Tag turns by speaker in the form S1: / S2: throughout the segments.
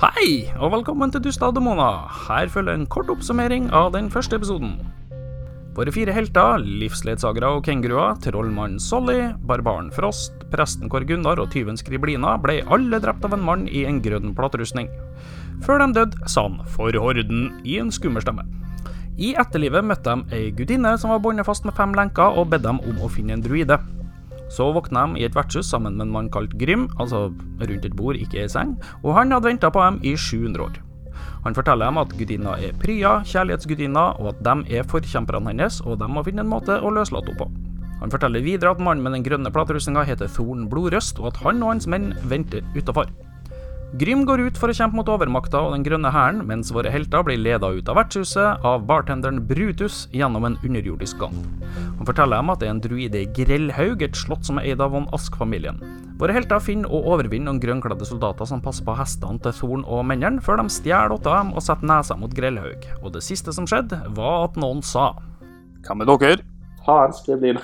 S1: Hei, og velkommen til Dust av demoner. Her følger en kort oppsummering av den første episoden. Våre fire helter, livsledsagere og kenguruer, trollmannen Solly, barbaren Frost, presten Kåre Gunnar og tyven Skriblina ble alle drept av en mann i en grønn plattrustning. Før de døde, sa han 'for horden' i en skummer stemme. I etterlivet møtte de ei gudinne som var båndet fast med fem lenker, og bedde dem om å finne en druide. Så våkna de i et vertshus sammen med en mann kalt Grym, altså rundt et bord, ikke ei seng, og han hadde venta på dem i 700 år. Han forteller dem at gudinna er Prya, kjærlighetsgudinna, og at de er forkjemperne hans, og de må finne en måte å løslate henne på. Han forteller videre at mannen med den grønne platerustninga heter Thorn Blodrøst, og at han og hans menn venter utafor. Grym går ut for å kjempe mot overmakta og den grønne hæren, mens våre helter blir leda ut av vertshuset av bartenderen Brutus gjennom en underjordisk gang. Han forteller dem at det er en druide i Grellhaug, et slott som er eid av von Ask-familien. Våre helter finner og overvinner noen grønnkledde soldater som passer på hestene til Thorn og mennene, før de stjeler åtte av dem og setter nesa mot Grellhaug. Og det siste som skjedde, var at noen sa
S2: Hva med dere?
S3: Faen, skriblina.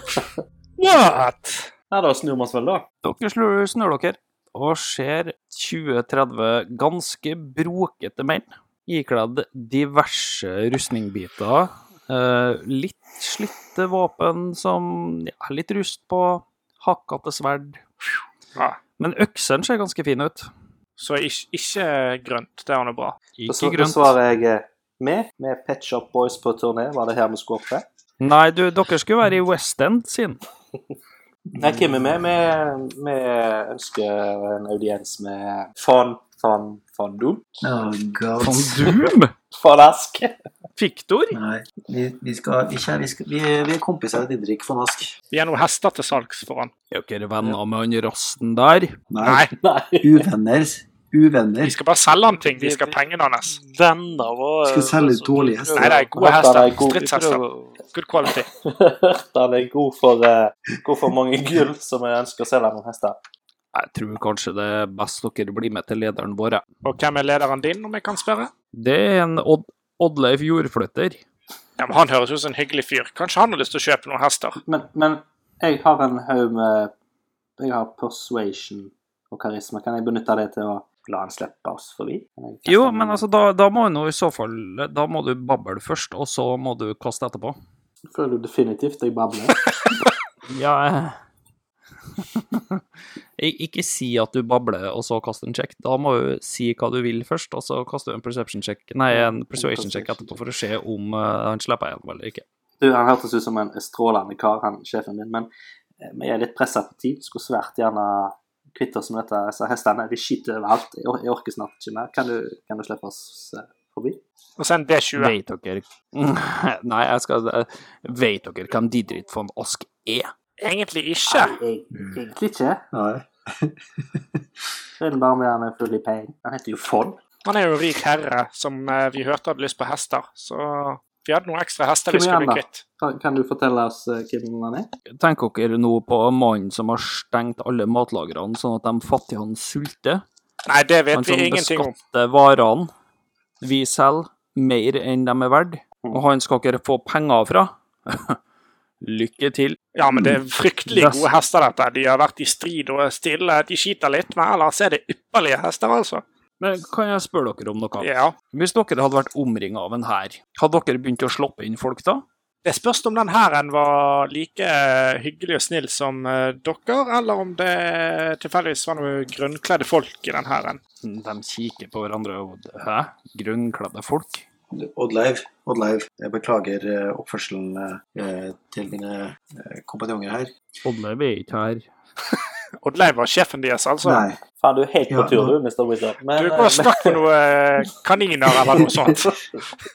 S2: What?
S3: Ja, da snur vi oss vel, da.
S1: Dere snur, snur dere, og ser 20-30 ganske brokete menn ikledd diverse rustningbiter. eh, litt slitte våpen som ja, Litt rust på, hakkete sverd.
S4: Ja.
S1: Men øksene ser ganske fine ut.
S4: Så ikke, ikke grønt. Det er nå bra.
S1: Ikke
S3: Så da
S1: grønt.
S3: svarer jeg eh, med. Med Pet Shop Boys på turné, var det her vi skulle opp til?
S1: Nei, du, dere skulle være i West End sin.
S3: Nei, hvem er vi? Vi- Vi ønsker en audiens med Fon, Fon, Fondum.
S5: Oh god.
S1: Fondum?
S3: Fon Ask.
S1: Fiktor?
S5: Nei, vi, vi skal ikke vi, skal, vi, vi er kompiser av Didrik von Ask.
S4: Vi er noen hester til salgs for han.
S1: Er dere venner med han rasten der?
S4: Nei,
S3: Nei.
S5: Uvenner. Uvenner.
S4: vi skal bare selge han ting. Vi skal ha pengene hans.
S6: venner var
S5: Skal selge dårlige hester.
S4: Nei, det er gode
S3: Hester er
S4: hester.
S3: god.
S4: Stridshester. Good quality.
S3: Hørte han er god for, eh, god for mange gull som jeg ønsker å selge noen hester.
S1: Jeg tror kanskje det er best dere blir med til lederen vår. jeg.
S4: Og hvem er lederen din, om jeg kan spørre?
S1: Det er en Odd Oddleif Jordflytter.
S4: Ja, men Han høres ut som en hyggelig fyr. Kanskje han har lyst til å kjøpe noen hester?
S3: Men, men jeg har en haug med Jeg har persuasion og karisma. Kan jeg benytte det til å la han slippe oss forbi? Kan jeg kaste
S1: Jo,
S3: en-
S1: men altså, da, da må du i så fall Da må du bable først, og så må du kaste etterpå.
S3: Jeg føler jo definitivt jeg babler.
S1: Ja Ikke si at du babler, og så kaste en check. Da må du si hva du vil først, og så kaster du en perception check Nei, en persuasion check etterpå for å se om eh, han slipper igjennom eller ikke.
S3: Du, han hørtes ut som en strålende kar, han sjefen din, men eh, vi er litt pressa på tid. Skulle svært gjerne kvitte oss med dette. Så hestene de skyter overalt. Jeg or- jeg orker snart ikke mer. Kan du, kan du slippe oss eh, forbi?
S4: Og så en D20.
S1: Vet dere Nei, jeg skal eh, Vet dere hvem Didrik von Ask er?
S4: Egentlig ikke.
S3: Nei, jeg- egentlig ikke.
S5: Nei.
S3: Regner bare med han er full i penger. Han heter jo Fond.
S4: Han er jo en rik herre, som eh, vi hørte hadde lyst på hester. Så vi hadde noen ekstra hester vi
S3: Kom igjen,
S4: skulle
S3: da.
S4: kvitt.
S3: Kan, kan du fortelle oss eh, hvem han er?
S1: Tenker dere nå på mannen som har stengt alle matlagrene, sånn at de fattige han sulter?
S4: Nei, det
S1: Han
S4: vet
S1: som
S4: vi ingenting om.
S1: beskatter varene vi selger, mer enn de er verdt,
S4: Mm.
S1: og han skal dere få penger fra. Lykke til.
S4: Ja, men det er fryktelig
S1: Best.
S4: gode hester, dette. De har vært i strid og er stille. De skiter litt, men ellers er det ypperlige hester, altså.
S1: Men kan jeg spørre dere om noe?
S4: Ja.
S1: Hvis dere hadde vært omringa av en hær, hadde dere begynt å sloppe inn folk da?
S4: Det spørs om den hæren var like eh, hyggelig og snill som eh, dere, eller om det tilfeldigvis var noe grønnkledde folk i den hæren.
S1: De kikker på hverandre og Hæ? Grønnkledde folk?
S5: Oddleiv, Oddleiv, jeg beklager eh, oppførselen eh, til mine eh, kompanjonger her.
S1: Oddleiv er ikke her.
S4: Oddleiv var sjefen deres, altså.
S5: Nei.
S3: Faen, du er helt på
S5: Ja,
S3: tur,
S5: nå-
S3: du, Mr. Wizard. Men,
S4: Du går og snakk med noen eh, kaniner eller noe sånt.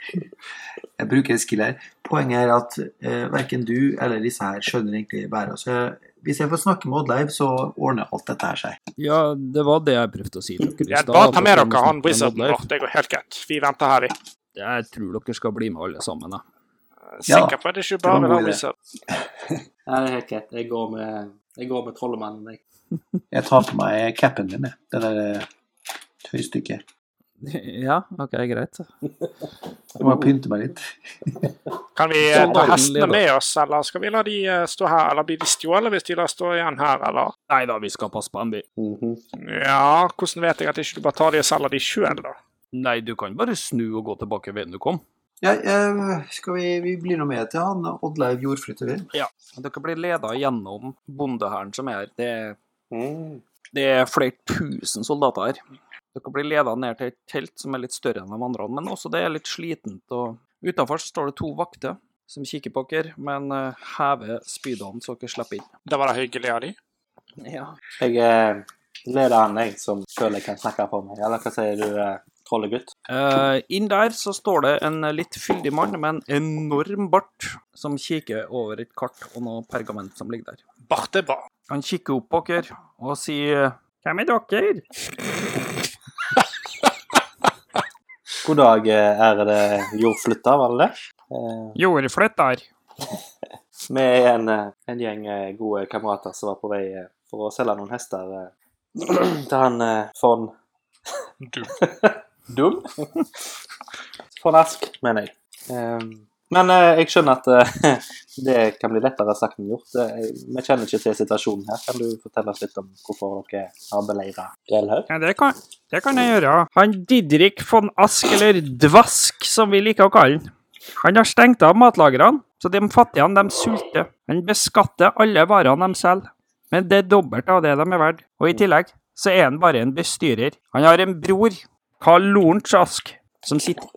S5: Jeg bruker en skill her. Poenget er at eh, verken du eller disse her skjønner egentlig været. Så jeg, Eh, hvis jeg får snakke med Oddleiv, så ordner alt dette her seg.
S1: Ja, det var det jeg prøvde å si til dere. i
S4: Ja,
S1: stad,
S4: bare
S1: at
S4: ta med
S1: dere må
S4: dere han
S1: snakke med
S4: wizarden
S1: Oddleif.
S4: vår. Det går helt greit. Vi venter her, vi.
S1: Jeg tror dere skal bli med alle sammen. Jeg.
S5: Ja,
S4: Sikker på at det ikke
S5: var en
S4: bare
S5: god
S4: er
S5: idé.
S4: wizard.
S3: Ja, det er helt greit. Jeg går med, jeg går med trollemannen. Jeg.
S5: Jeg tar på meg capen min, jeg. Det der eh, tøystykket.
S1: Ja, OK, greit.
S5: Jeg må pynte meg litt.
S4: Kan vi eh, ta
S1: Sånn,
S4: hestene
S1: da.
S4: med oss, eller skal vi la de eh, stå her? Eller blir de stjålet hvis de lar stå igjen her, eller?
S1: Nei da, vi skal passe på dem, vi.
S4: Ja, hvordan vet jeg at ikke du bare tar de og selger de sjøl, da?
S1: Nei, du kan bare snu og gå tilbake veien du kom.
S5: Ja, eh, skal vi, vi blir nå med til han Oddleiv Jordflytter. vi.
S1: Dere blir leda gjennom bondehæren som er her. Det, er-
S3: Mm.
S1: det er flere tusen soldater her. Dere blir leda ned til et telt som er litt større enn de andre, men også det er litt slitent. og Utafor står det to vakter som kikker på dere, men eh, hever spydene så dere slipper inn.
S4: Det var da hyggelig av de.
S1: Ja.
S3: Jeg eh, leder an, jeg, som føler jeg kan snakke for meg. Eller hva sier du, eh, trollegutt?
S1: Eh, inn der så står det en litt fyldig mann med en enorm bart som kikker over et kart og noe pergament som ligger der.
S4: Bart er bra.
S1: Han kikker opp på dere og sier Hvem er dere?
S3: God dag, eh, ærede jordflytter, var det det? Eh,
S1: Jordflytter.
S3: vi er en, eh, en gjeng eh, gode kamerater som var på vei eh, for å selge noen hester eh, til han eh, von
S4: Du.
S3: Dum? von Ask, mener jeg. Eh, men eh, jeg skjønner at eh, det kan bli lettere sagt enn gjort. Eh, jeg- Vi kjenner ikke til situasjonen her. Kan du fortelle oss litt om hvorfor dere har beleiret Fjellhaug?
S1: Ja, det kan, det kan jeg gjøre. Han Didrik von Ask, eller Dvask, som vi liker å kalle han. Han har stengt av matlagrene, så de fattige de sulter. Han beskatter alle varene de selger. Men det er dobbelt av det de er verdt. Og i tillegg så er han bare en bestyrer. Han har en bror, Karl Lorentz Ask, som sitter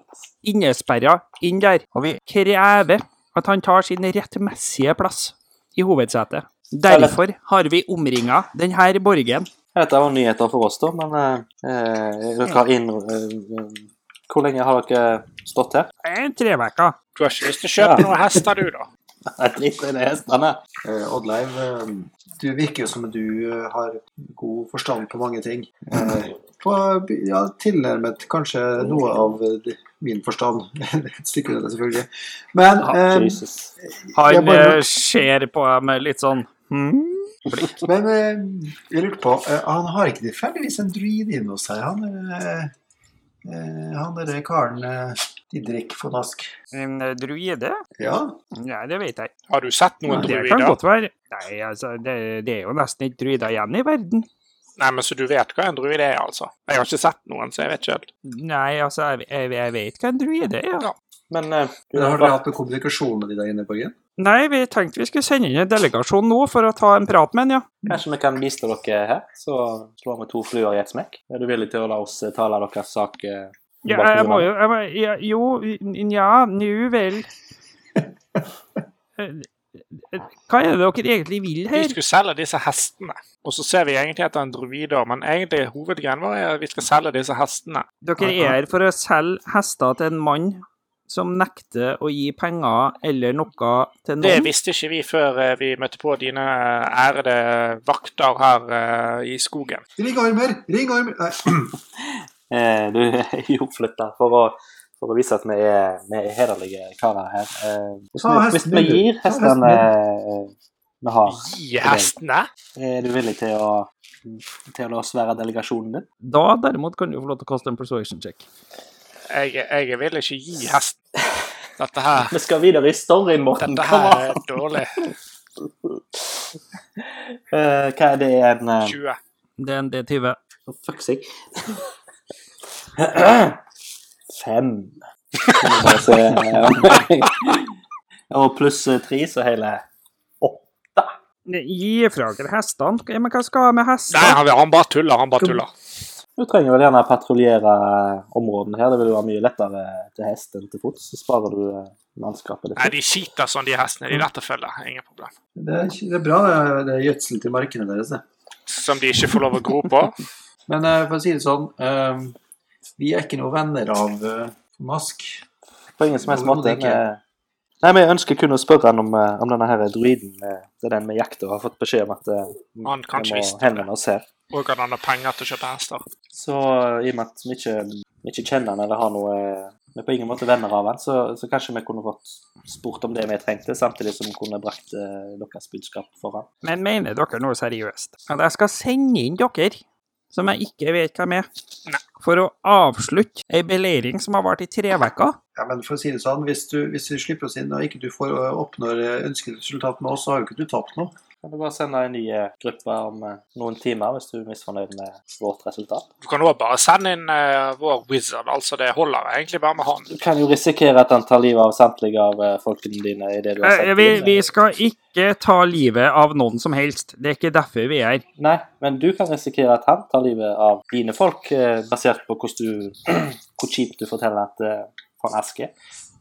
S1: innesperra inn der. Og vi krever at han tar sin rettmessige plass i hovedsetet. Derfor har vi omringa denne borgen.
S3: Dette var nyheter for oss, da, men eh, eh, dere har inn... eh, eh, hvor lenge har dere stått her?
S1: En trevekker.
S4: Du har ikke lyst til å kjøpe noen hester, du, da?
S3: Jeg driter i de hestene.
S5: Eh, Oddleiv, eh, du virker jo som du eh, har god forstand på mange ting. Eh, på, ja, tilnærmet kanskje noe av eh, min forstand. Et stykke unna, selvfølgelig. Men eh,
S3: Jesus.
S5: Jeg
S1: Han
S5: bare- Mm.
S1: eh, ser på deg med litt sånn hmm?
S5: Men eh, jeg lurte på eh, Han har ikke tilfeldigvis en druid inne hos seg, han derre Han derre karen eh, Didrik von Ask.
S1: En eh, druide?
S5: Ja,
S1: Nei, det vet jeg. ikke.
S4: Har du sett noen
S1: Det kan
S4: druider?
S1: godt være. Nei, altså, det, det er jo nesten ikke druider igjen i verden.
S4: Nei, men så du vet hva en druid er, altså? Jeg har ikke sett noen, så jeg vet ikke helt.
S1: Nei, altså, jeg, jeg, jeg vet hva en druide er. Ja.
S3: Men eh, du,
S5: Har dere
S3: var,
S5: hatt noe kommunikasjon med de der inne, Borgen?
S1: Nei, vi tenkte vi skulle sende inn en delegasjon nå for å ta en prat med en, ja.
S3: kanskje vi kan bistå dere her? Så slår vi to fluer i ett smekk. Er du villig til å la oss eh, tale deres sak? eh,
S1: ja
S3: bak
S1: jeg må
S3: ryggen?
S1: jo jeg må, ja, Jo, nja, nu vel. Eh, eh, Hva er det dere egentlig vil
S4: Vi
S1: her?
S4: skulle selge disse hestene, og så ser vi egentlig etter en druider, men egentlig hovedgreien vår er at vi skal selge disse hestene.
S1: Dere er her for å selge hester til en mann som nekter å gi penger eller noe til
S4: Det
S1: noen?
S4: visste ikke vi før eh, vi møtte på dine eh, ærede vakter her eh, i skogen.
S5: Ring Armer! Ring Armer! Nei,
S3: Eh, du er jordflytta for å for å vise at vi er, vi er hederlige karer her. Eh, hvis,
S5: Ta
S3: vi, hvis
S5: hesten
S3: vi
S5: din, du.
S3: gir hestene eh,
S5: Ta hesten
S3: vi har,
S4: Gi hestene?
S3: er du villig til å, til å svære delegasjonen din?
S1: Da derimot kan du få lov til å kaste en persuasion check.
S4: Jeg, jeg vil ikke gi hesten. Dette her,
S3: Vi skal videre i storyen, Morten.
S4: dette
S3: Kom
S4: her
S3: an.
S4: er dårlig.
S3: Eh, hva er det en eh,
S4: 20.
S1: Det er en D20.
S3: For fuck's sake. Fem. Kan vi bare se, eh, Og pluss eh, tre, så hele
S1: Gi fra dere hestene. Ja, Men hva skal jeg ha med
S4: Nei,
S1: hester?
S4: han, han bare tuller. Han bare tuller.
S3: Du trenger vel gjerne patruljere eh, områdene her. Det vil jo være mye lettere eh, til hest enn til fots. Så sparer du eh, mannskapet
S4: Nei,
S3: ditt.
S4: de skiter sånn, de hestene. De er lett å følge. Ingen problem.
S5: det, er, ikke- det er bra, det er- det er gjødsel til markene deres, det.
S4: Som de ikke får lov å gro på.
S5: Men eh, for å si det sånn, eh, vi er ikke noen venner av eh, Mask.
S3: På ingen som helst måte.
S5: Overhodet ikke.
S3: men- Nei, men Jeg ønsker kun å spørre han om, eh, om denne her druiden. eh, Det er den vi jakter og har fått beskjed om at eh,
S4: Han kan ikke
S3: vi
S4: visst
S3: må henvende oss her.
S4: Og at han har penger til å kjøpe hester.
S3: Så eh, i og med at vi ikke, vi ikke kjenner han eller har noe eh, Vi er på ingen måte venner av han, så, så kanskje vi kunne fått spurt om det vi trengte, samtidig som vi kunne brakt eh, deres budskap foran.
S1: Men mener dere noe seriøst? At jeg skal sende inn dere som jeg ikke vet hvem er, for å avslutte ei beleiring som har vart i tre uker.
S5: Ja, men for å si det sånn, hvis, du, hvis vi slipper oss inn og ikke du får ø, oppnår ø, ønsket resultat med oss, så har jo ikke du tapt noe.
S3: Kan du bare sende en ny eh, gruppe om eh, noen timer hvis du er misfornøyd med vårt resultat?
S4: Du kan også bare sende inn eh, vår wizard, altså det holder egentlig bare med han.
S3: Du kan jo risikere at han tar livet av samtlige av eh, folkene dine i det du har
S1: Eh,
S3: sendt
S1: Vi,
S3: inn.
S1: vi skal ikke ta livet av noen som helst. Det er ikke derfor vi er her.
S3: Nei, men du kan risikere at han tar livet av dine folk, eh, basert på hvordan du, hvor kjipt du forteller at eh, han Aske.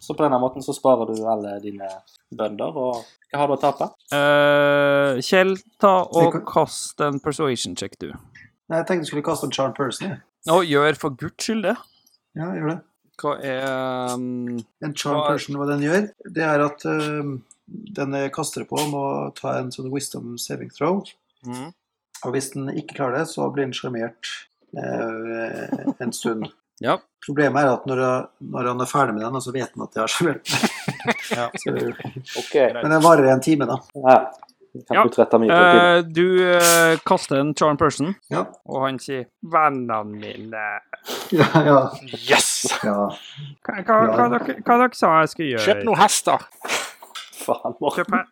S3: Så på denne måten så sparer du alle dine bønder, og hva har du å tape?
S1: Eh, Kjell, ta og
S5: Det
S1: kast en persuasion check, du.
S5: Nei, jeg tenkte jeg skulle kaste en charm person, jeg.
S1: Og gjør for guds skyld det.
S5: Ja, gjør det.
S1: Hva er um,
S5: En charm
S1: Hva-
S5: person, hva den gjør, det er at ø, den jeg kaster på, må ta en sånn wisdom saving throw.
S1: Mm.
S5: Og hvis den ikke klarer det, så blir den sjarmert ø, en stund.
S1: Ja.
S5: Problemet er at når, jeg- når han er ferdig med den, så vet han at jeg har sjarmert den. Så-
S3: Ok.
S5: Men den varer i en time, da.
S3: Ja. Kan
S1: Ja.
S3: du trette mye på tiden?
S1: Eh, Du eh, kaster en charm person,
S5: Ja.
S1: og han sier 'Vennene mine
S5: Ja, ja.
S4: Yes!
S5: ja.
S1: Hva, hva, hva, dere, hva dere sa jeg skulle gjøre?
S4: Kjøp noen hester.
S3: Faen, Morten.
S1: Kjøp her.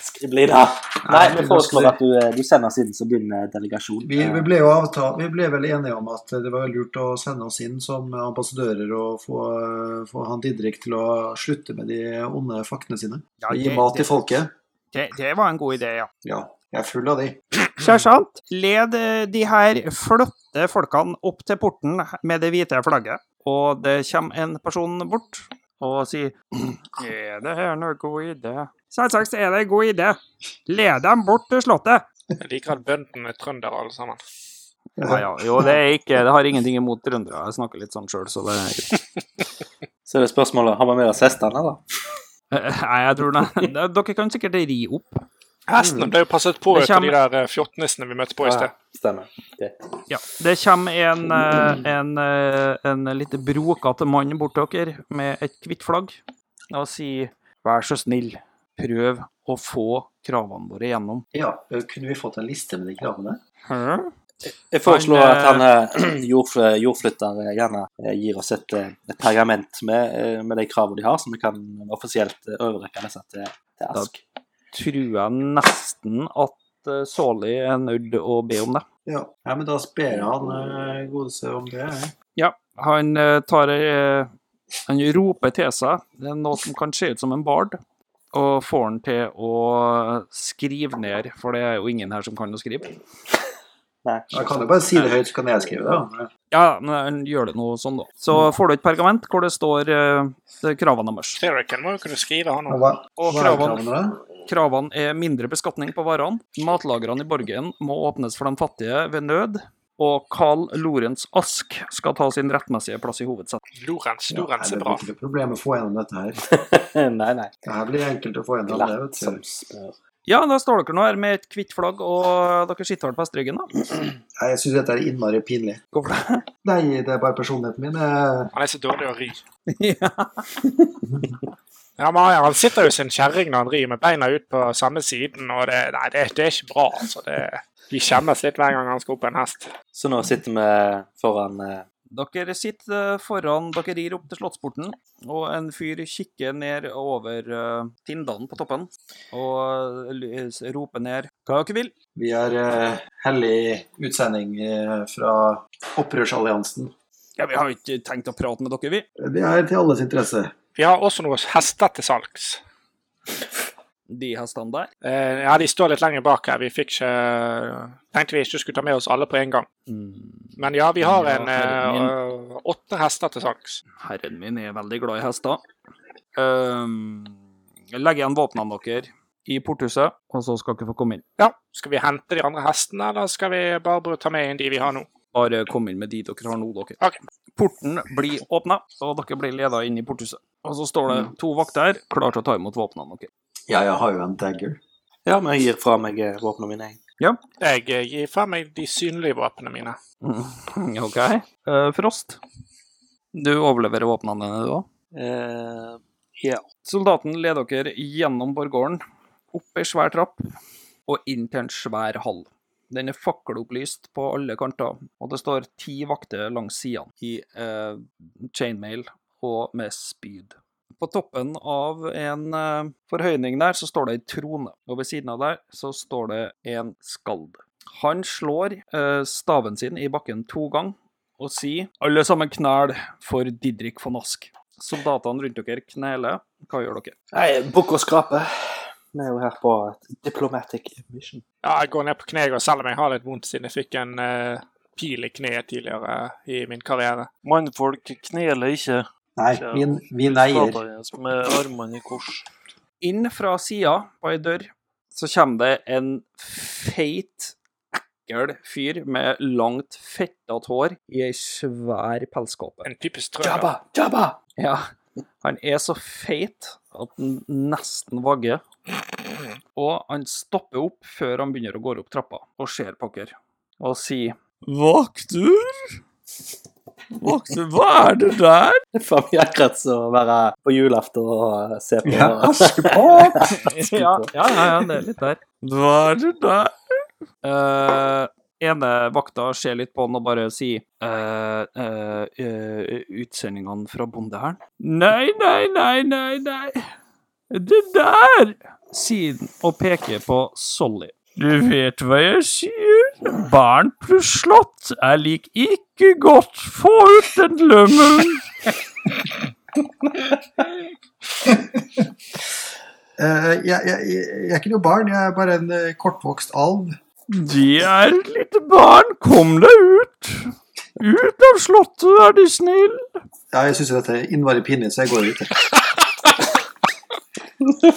S3: Skribli det av. Nei, vi
S5: det
S3: foreslår
S5: lukter-
S3: at du, eh, du sender oss inn som din eh, delegasjon.
S5: Vi, vi ble jo avtalt, vi ble vel enige om at det var lurt å sende oss inn som ambassadører og få, få han Didrik til å slutte med de onde faktene sine.
S1: Ja,
S5: Og gi
S1: det-
S5: mat
S1: det-
S5: til folket.
S1: Det, det var en god idé, ja.
S5: Ja, jeg er full av de.
S1: Sersjant, led eh, de her flotte folkene opp til porten med det hvite flagget. Og det kommer en person bort og sier Er det her noen god idé? Selvsagt er det en god idé. Led dem bort til Slottet.
S4: Jeg liker at bøndene er trøndere, alle sammen.
S1: Ja, ja. Jo, det er ikke Det har ingenting imot trøndere. Jeg snakker litt sånn sjøl, så det
S3: Så er det spørsmålet, har vi med oss hestene, da?
S1: Nei, jeg tror det. Dere kan sikkert ri opp.
S5: Mm.
S4: Hestene ble jo passet på
S1: Det
S4: etter de
S1: kommer-
S4: der eh, fjortnissene vi møtte på i
S3: Ja,
S4: sted.
S3: Stemmer. Ok.
S1: Ja. Det kommer en, eh, en, eh, en litt brokete mann bort til dere med et hvitt flagg og sier Vær så snill, prøv å få kravene våre gjennom.
S5: Ja, kunne vi fått en liste med de kravene?
S1: Hæ?
S3: Jeg foreslår
S1: Han, eh,
S3: at han eh, jordf jordflytter eh, gjerne eh, gir oss et, eh, et pergament med, eh, med de kravene de har, som vi kan offisielt eh, overrekke disse til, til Ask.
S1: Tror jeg nesten at eh, Soli er nødt å be om det.
S5: Ja, ja men da spør jeg han eh, godeste om det. jeg.
S1: Ja, han eh, tar eh, Han roper til seg det er noe som kan se ut som en bard, og får han til å skrive ned, for det er jo ingen her som kan å skrive.
S3: Nei.
S5: Jeg kan jo bare si det høyt, så kan jeg skrive det. da.
S1: Ja, men han gjør det noe sånn, da. Så får du et pergament hvor det står eh, det- kravene deres.
S4: Clerican må jo kunne skrive, han
S5: Ja,
S4: òg.
S5: Hva,
S1: Og
S5: hva er
S1: kravene,
S5: kravene da?
S1: kravene er mindre beskatning på varene, matlagrene i borgen må åpnes for de fattige ved nød, og Carl Lorentz Ask skal ta sin rettmessige plass i hovedsetet.
S4: Lorentz,
S5: Ja, nei,
S4: Lorentz
S5: det
S4: er
S5: blir
S4: bra.
S5: ikke noe problem å få gjennom dette her.
S3: nei, nei.
S5: Det her blir enkelt å få gjennom det,
S3: Glatt som
S5: vet du.
S3: spør.
S1: Ja, da står dere nå her med et hvitt flagg, og dere sitter vel på hesteryggen, da?
S5: Nei, jeg syns dette er innmari pinlig.
S1: Hvorfor det?
S5: Nei, det er bare personligheten min. Jeg
S4: Han er så dårlig å ri.
S1: Ja.
S4: Ja, men han- Han sitter jo i sin kjerring når han rir, med beina ut på samme siden. og det, Nei, det, det er ikke bra. altså. Det, de skjemmes litt hver gang han skal opp på en hest.
S3: Så nå sitter vi foran eh,
S1: Dere sitter eh, foran, dere rir opp til slottsporten, og en fyr kikker ned over eh, tindene på toppen og eh, l- s- roper ned hva dere vil.
S5: Vi er eh, hellig utsending eh, fra Opprørsalliansen.
S1: Ja, vi har jo ikke tenkt å prate med dere, vi.
S5: Det er til alles interesse.
S4: Vi har også noen hester til salgs.
S1: De hestene der.
S4: Eh, ja, De står litt lenger bak her. Vi fikk ikke eh, Tenkte vi ikke skulle ta med oss alle på en gang.
S1: Mm,
S4: Men ja, vi har
S1: Ja,
S4: en
S1: herregud.
S4: eh, åtte hester til salgs.
S1: Herren min er veldig glad i hester. Ehm, jeg legger igjen våpnene deres i porthuset, og så skal dere få komme inn.
S4: Ja, Skal vi hente de andre hestene, eller skal vi bare ta med inn de vi har nå?
S1: Bare kom inn med de dere har nå, dere.
S4: Ok.
S1: Porten blir åpna, og dere blir leda inn i porthuset. Og så står det to vakter her, klare til å ta imot våpnene deres.
S5: Ja, jeg har jo en dagger.
S3: Ja, men jeg gir fra meg eh, våpnene mine, jeg.
S4: Jeg eh, gir fra meg de synlige våpnene mine.
S1: Mm, OK. Eh, Frost, du overleverer våpnene dine, du òg.
S3: Eh,
S1: Soldaten leder dere gjennom borggården, opp ei svær trapp og inn til en svær hall. Den er fakkelopplyst på alle kanter, og det står ti vakter langs sidene i eh, chainmail og med spyd. På toppen av en eh, forhøyning der så står det ei trone, og ved siden av der så står det en skald. Han slår eh, staven sin i bakken to ganger og sier alle sammen knæl for Didrik von Ask. Soldatene rundt dere kneler. Hva gjør dere?
S3: Nei, bukk og skrape. Vi er jo her på et diplomatic mission.
S4: Ja, jeg går ned på kne, jeg, og selv om jeg har litt vondt siden jeg fikk en eh, pil i kneet tidligere eh, i min karriere.
S7: Mannfolk kneler ikke.
S5: Nei, vi, vi neier.
S7: Skaper med armene i kors.
S1: Inn fra sida på ei dør så kommer det en feit, ekkel fyr med langt, fettete hår i ei svær pelskåpe.
S4: En typisk trønder.
S3: Jabba! Jabba!
S1: Ja, han er så feit at han nesten vagger. Og han stopper opp før han begynner å gå opp trappa, og ser på dere og sier
S7: Vaktur? Vaktur, hva er det der?
S3: For vi er akkurat som å være på julaften og se på
S5: Ja, Askepott!
S1: Ja, ja, ja, ja det er litt der.
S7: Hva er det der?
S1: Eh, ene vakta ser litt på han og bare sier eh, eh, eh, Utsendingene fra bondehæren? Nei, nei, nei, nei, nei. Det der! Sier han og peker på Solly.
S7: Du vet hva jeg sier. Barn pluss slott er lik ikke godt. Få ut den lømmen.
S5: Eh, jeg, jeg, jeg, jeg er ikke noe barn, jeg er bare en eh, kortvokst alv.
S7: De er et lite barn. Kom deg ut. Ut av slottet, er de snill.
S5: Ja, jeg syns dette er innmari pinlig, så jeg går ut. jeg.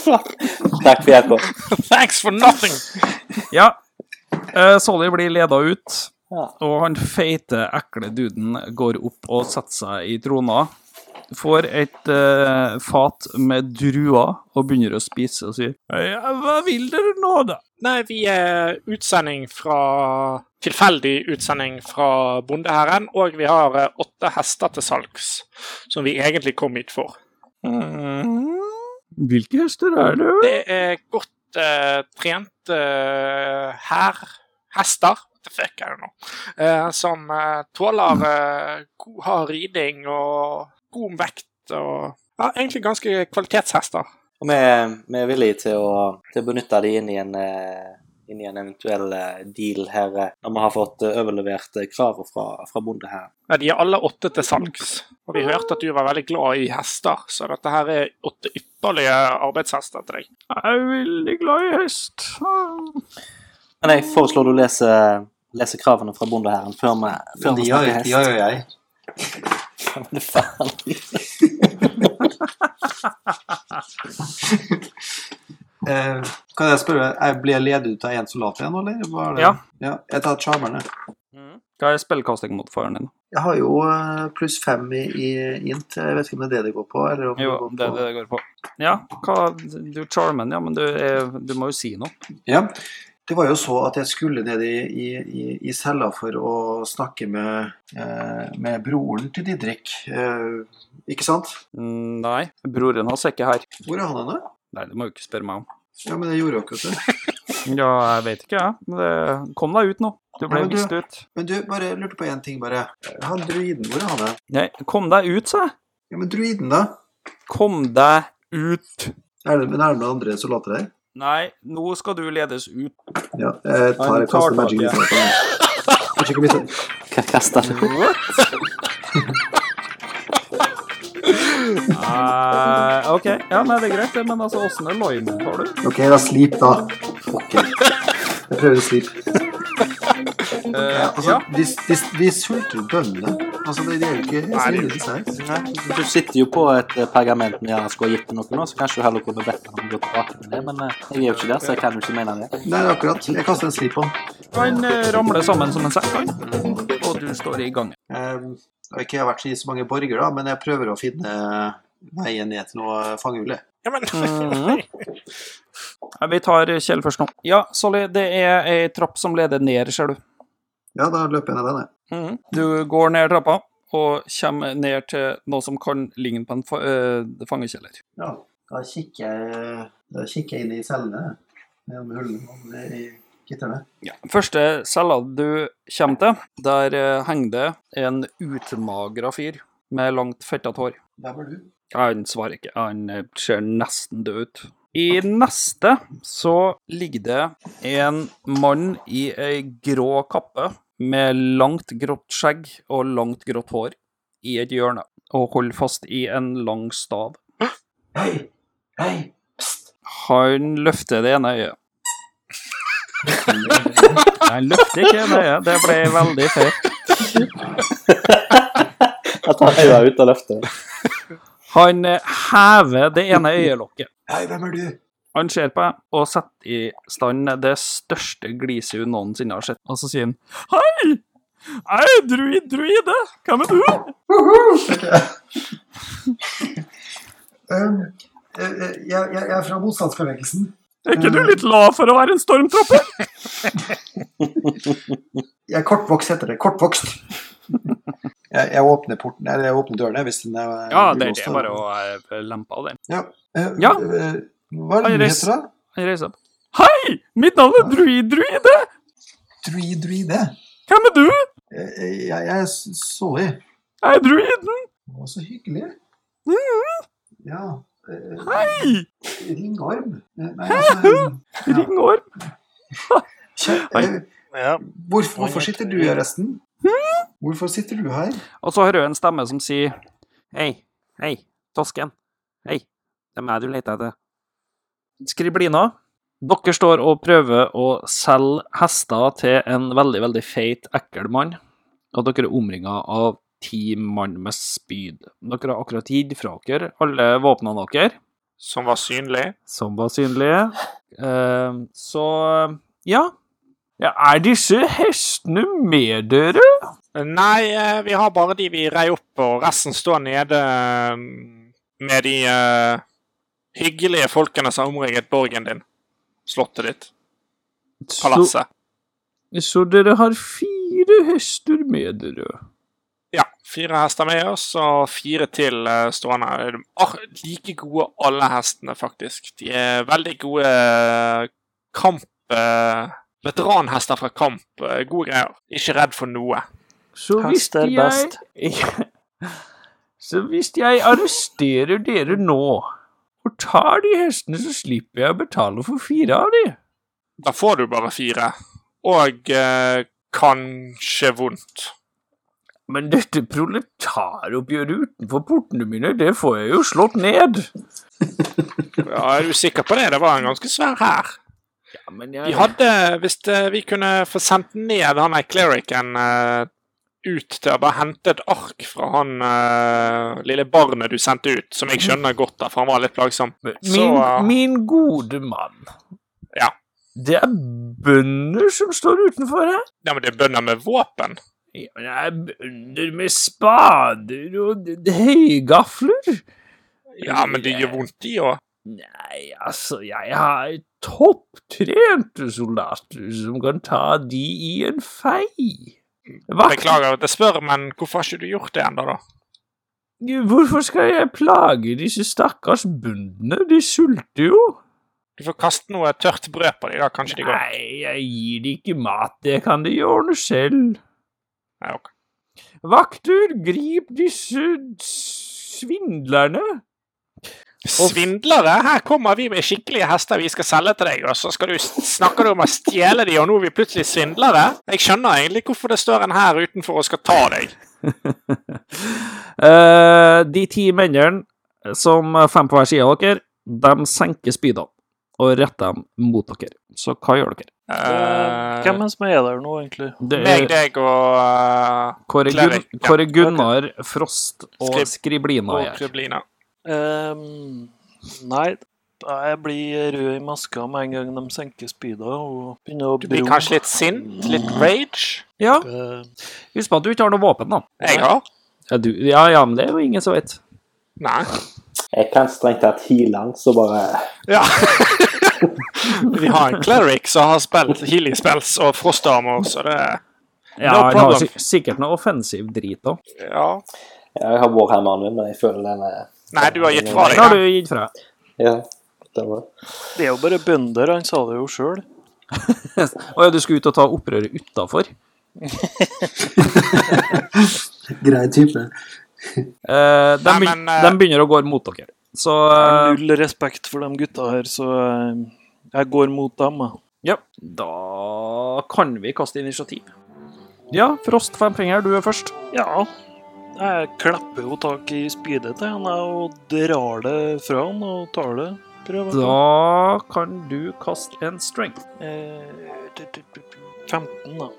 S3: Takk for hjelpa.
S4: Thanks for nothing!
S1: Ja. Eh, Solly blir leda ut,
S3: Ja.
S1: og han feite, ekle duden går opp og setter seg i trona. Får et eh, fat med druer og begynner å spise og sier
S7: Ja, hva vil dere nå, da?
S4: Nei, vi er utsending fra Tilfeldig utsending fra Bondeherren, og vi har eh, åtte hester til salgs, som vi egentlig kom hit for.
S1: Mm.
S7: Hvilke hester er det?
S4: Det er godt eh, trent uh, hær, hester, the fuck er det nå, eh, som eh, tåler eh, god hard riding og god vekt og ja, egentlig ganske kvalitetshester.
S3: Og vi, er- vi er villige til å, til å benytte de inn i en, eh, inn i en eventuell eh, deal her eh, når vi har fått eh, overlevert eh, kravet fra, fra bonde her.
S4: Ja, de er alle åtte til salgs. Og vi hørte at du var veldig glad i hester, så dette her er åtte ypperlige arbeidshester til deg.
S7: Jeg er veldig glad i hest.
S3: Men jeg foreslår du leser, leser kravene fra bondeherren før vi før
S5: Men
S3: vi
S5: de har,
S3: snakker
S5: de har jo jeg.
S3: hest. Faen.
S5: Eh, kan jeg spørre, jeg ble jeg ledet ut av én soldat igjen, eller? Hva er det?
S1: Ja.
S5: ja. Jeg tar charmerne.
S1: Hva er spillkastingmodifieren din?
S5: Jeg har jo eh, pluss fem i, i int. Jeg vet ikke om det er det det går på. Eller om
S1: Jo,
S5: det
S1: det er
S5: går på...
S1: det det går på. Ja, hva Du charmer, ja, men du, er, du må jo si noe.
S5: Ja. Det var jo så at jeg skulle ned i, i, i- i cella for å snakke med, eh, med broren til Didrik. Eh, ikke sant?
S1: Mm, Nei, broren hans er ikke her.
S5: Hvor er han henne?
S1: Nei, det må du ikke spørre meg om.
S5: Ja, men det gjorde dere ikke.
S1: Ja, jeg vet ikke, jeg. Men det- Kom deg ut nå. Du ble
S5: Ja, men du-
S1: vist ut.
S5: Men du, bare jeg lurte på én ting, bare. Han druiden, hvor er han? hen?
S1: Nei, kom deg ut, sa jeg.
S5: Ja, men druiden, da?
S1: Kom deg ut.
S5: Er det, men er det noen andre soldater der?
S1: Nei, nå skal du ledes ut.
S5: Ja, jeg tar
S1: Han
S5: jeg kaster
S1: tar
S5: magic
S1: tak, ja.
S5: missile på den. Kanskje ikke miste-
S3: Hva kaster du?
S1: Nei, Eh, OK. Ja, nei, det er greit, det, men altså, åssen er loimen, tar du?
S5: Ok, da sleep, da. Ok. Jeg prøver å sleep.
S1: Eh,
S5: Altså,
S1: ja.
S5: de, de, de sulter bøndene. Altså, de, de er jo ikke
S4: Nei,
S5: så
S4: det er
S5: lille seg.
S3: Du sitter jo på et eh, pergament med Jaren skulle ha gitt til noen nå, så kanskje du heller kunne bedt ham om å gå tilbake med det, men eh, jeg er jo ikke der, så jeg kan jo ikke mene det.
S5: Nei, akkurat. Jeg kaster en sleep på den.
S1: Han eh, ramler sammen som en sekk, han. Og du står i gangen.
S5: Um, og ikke jeg har vært i så mange borger, da, men jeg prøver å finne veien ned til noe fangehull. jeg.
S4: Ja, men
S3: Mm.
S1: Mhm. Ja, Vi tar Kjell først nå. Ja, Solly, det er ei trapp som leder ned, ser du.
S5: Ja, da løper jeg ned den, jeg.
S1: Mhm. Du går ned trappa og kommer ned til noe som kan ligne på en fa eh, fangekjeller.
S5: Ja, da kikker jeg, da kikker jeg inn i cellene. Ned om hullene om det er i Gitterne.
S1: Første cella du kommer til, der eh, henger det en utmagra fyr med langt, fettet hår.
S5: Der var du.
S1: Han svarer ikke. Han eh, ser nesten død ut. I neste så ligger det en mann i ei grå kappe med langt grått skjegg og langt grått hår i et hjørne og holder fast i en lang stav.
S5: Hei! Hei! Pst!
S1: Han løfter det ene øyet. Nei, han løfter ikke det øyet. Det ble veldig feil.
S3: Jeg tar øya ut av løftet.
S1: Han eh, hever det ene øyelokket.
S5: Hei, hvem er du?
S1: Han ser på meg og setter i stand det største gliset hun noensinne har sett, og så sier han
S8: Hei! Hei, druid, druide! Hvem er du?
S5: Um, eh, eh, jeg, jeg, jeg er fra motstandsbevegelsen.
S8: Er ikke du litt lav for å være en stormtropper?
S5: Jeg er kortvokst, heter det. Kortvokst. jeg, jeg åpner porten, eller jeg åpner dørene hvis den er
S1: Ja, det, det er bare å eh, lempe av den.
S5: Eh,
S1: Ja.
S5: eh, Hva er
S1: Kan
S5: det du
S1: jeg reise-
S5: heter, da?
S1: Han reiser opp.
S8: Hei! Mitt navn er druid, druide.
S5: Druid, druide.
S8: Hvem er du?
S5: Eh, eh, Jeg, jeg er s- Solly.
S8: Jeg er druiden.
S5: Å, så hyggelig.
S1: Mm-hmm.
S5: Ja. eh,
S8: Hei!
S5: Ringorm? Eh, Nei, altså ja.
S8: Ringorm.
S5: Kjæ-
S8: Oi.
S5: eh,
S2: Ja.
S5: Hvorfor, hvorfor sitter du her, resten? Hvorfor sitter du her?
S1: Og så hører jeg en stemme som sier Hei, hei, Tosken. Hei, det er meg du leter etter. Skriblina, dere står og prøver å selge hester til en veldig, veldig feit, ekkel mann, og dere er omringa av ti mann med spyd. Dere har akkurat gitt fra dere alle våpnene deres
S4: Som var synlig.
S1: som var synlige. Eh, så ja.
S8: Ja, er disse hestene med dere?
S4: Nei, eh, vi har bare de vi rei opp, og resten står nede eh, med de eh, hyggelige folkene som har omringet borgen din. Slottet ditt. Palasset.
S8: Så, så dere har fire hester med dere?
S4: Ja. Fire hester med oss, og fire til eh, stående. De er like gode alle hestene, faktisk. De er veldig gode eh, kamp... eh, veteranhester fra kamp. eh, gode greier. Ikke redd for noe.
S8: Så hvis
S3: Hest er best.
S8: jeg Så hvis jeg arresterer dere nå og tar de hestene, så slipper jeg å betale for fire av de.
S4: Da får du bare fire. Og eh, kanskje vondt.
S8: Men dette proletaroppgjøret utenfor portene mine, det får jeg jo slått ned.
S4: Ja, Er du sikker på det? Det var en ganske svær hær.
S8: Ja, men
S4: Vi
S8: jeg...
S4: hadde, Hvis eh, vi kunne få sendt ned han der clericen eh, ut til å bare hente et ark fra han eh, lille barnet du sendte ut, som jeg skjønner godt, da, for han var litt plagsom
S8: Men
S4: Så,
S8: Min,
S4: eh,
S8: min gode mann.
S4: Ja.
S8: Det er bønder som står utenfor her.
S4: Ja, men det er bønder med våpen.
S8: Ja, men det er bønder med spader og d- d- høygafler.
S4: Ja, men det gjør vondt, de òg.
S8: Nei, altså, jeg har topptrente soldater som kan ta de i en fei. Hva?
S4: Beklager at jeg spør, men hvorfor har ikke du gjort det ennå, da?
S8: Hvorfor skal jeg plage disse stakkars bøndene? De sulter jo.
S4: Du får kaste noe tørt brød på dem, da. Kanskje de går.
S8: Nei, jeg gir de ikke mat. Det kan de ordne selv.
S4: Nei, ok.
S8: Vakter, grip disse svindlerne.
S4: Svindlere! Her kommer vi med skikkelige hester vi skal selge til deg, og så skal du snakker du om å stjele de, og nå er vi plutselig svindlere? Jeg skjønner egentlig hvorfor det står en her utenfor og skal ta deg.
S1: Eh, de ti mennene, som fem på hver side av dere, de senker spydene og retter dem mot dere. Så hva gjør dere?
S4: Eh,
S2: Hvem er det som er der nå, egentlig?
S1: Det
S4: meg, deg og eh,
S1: Kåre, Gun
S4: Klerik, ja.
S1: Kåre Gunnar Frost og
S4: Skrib-
S1: Skriblina
S4: og
S1: her.
S4: Kriblina.
S2: Ehm, nei, da jeg blir rød i maska med en gang de senker spyda og begynner å
S4: Du blir
S2: bruke-
S4: kanskje litt sint? Litt rage?
S1: Ja,
S2: Ehm,
S1: husk på at du ikke har noe våpen, da.
S4: Jeg har.
S1: Ja, du, ja, ja, men det er jo ingen som vet.
S4: Nei.
S3: Jeg kan strengt tatt heale han, så bare
S4: Ja. vi har en cleric som har spilt healing spells og frostarmer, så det
S1: Ja,
S4: No
S1: han har
S4: problem.
S1: sik- sikkert noe offensiv drit òg.
S4: Ja.
S3: Ja, jeg har warhammeren min, men jeg føler den er
S4: Nei, du har gitt fra
S1: Det har
S4: deg.
S1: du gitt fra deg.
S3: Ja, det var
S2: det er jo bare bønder, han sa det jo sjøl.
S1: Å ja, du skulle ut og ta opprøret utafor?
S5: Grei type.
S1: Eh, de,
S4: Nei,
S1: begyn-
S4: men, eh,
S1: de begynner å gå mot dere. Så
S2: Jeg
S1: eh,
S2: har null respekt for de gutta her, så eh, jeg går mot dem.
S1: ja,
S2: jeg.
S1: da kan vi kaste initiativ. Ja, Frost Femfinger, du er først.
S2: Ja. Jeg klapper jo tak i spydet til henne og drar det fra han og tar det. Prøver på.
S1: Da kan du kaste en strength.
S2: Eh, tu- tu- tu- tu- 15, da.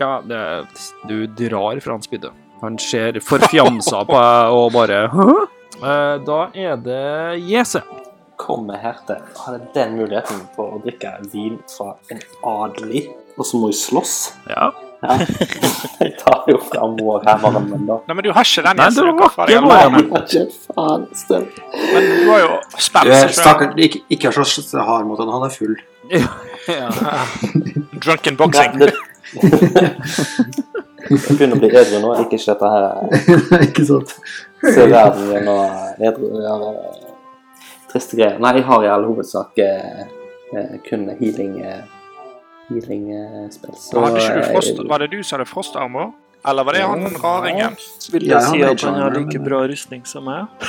S1: Ja, det, du drar fra hans bydde. Han ser forfjamsa på deg og bare Hæ? Eh, Da er det JC.
S3: Kommer her til Hadde den muligheten for å drikke vin fra en adelig, og så må jeg slåss?
S1: Ja.
S3: Ja. Jeg tar jo fram vårhammeren min, da.
S4: Nei, men du har ikke den
S1: Nei,
S4: Jensen,
S1: det
S4: du
S1: var
S4: kan få
S1: ikke
S4: deg
S1: vår,
S4: alene.
S3: Ikke et faen sted.
S4: Men du har jo
S5: Du
S4: spilt
S5: er
S4: seg selv.
S5: stakkars ikke, ikke er så hard mot han, han er full.
S4: Drunken boxing.
S3: Nei, det- Jeg begynner å bli edru nå. Jeg liker ikke dette her.
S5: ikke sant?
S3: Se verden gjennom edru ja, Triste greier. Nei, jeg har i all hovedsak eh, eh, kun healing eh, healing eh, spells.
S4: Og Hadde ikke du
S3: eh,
S4: frost, var det du som hadde frostarmer? Eller var det han raringen?
S2: Vil
S5: Ja, jeg
S2: jeg si
S5: har
S2: at han
S5: mage,
S2: har
S5: men-
S2: like bra rustning som meg?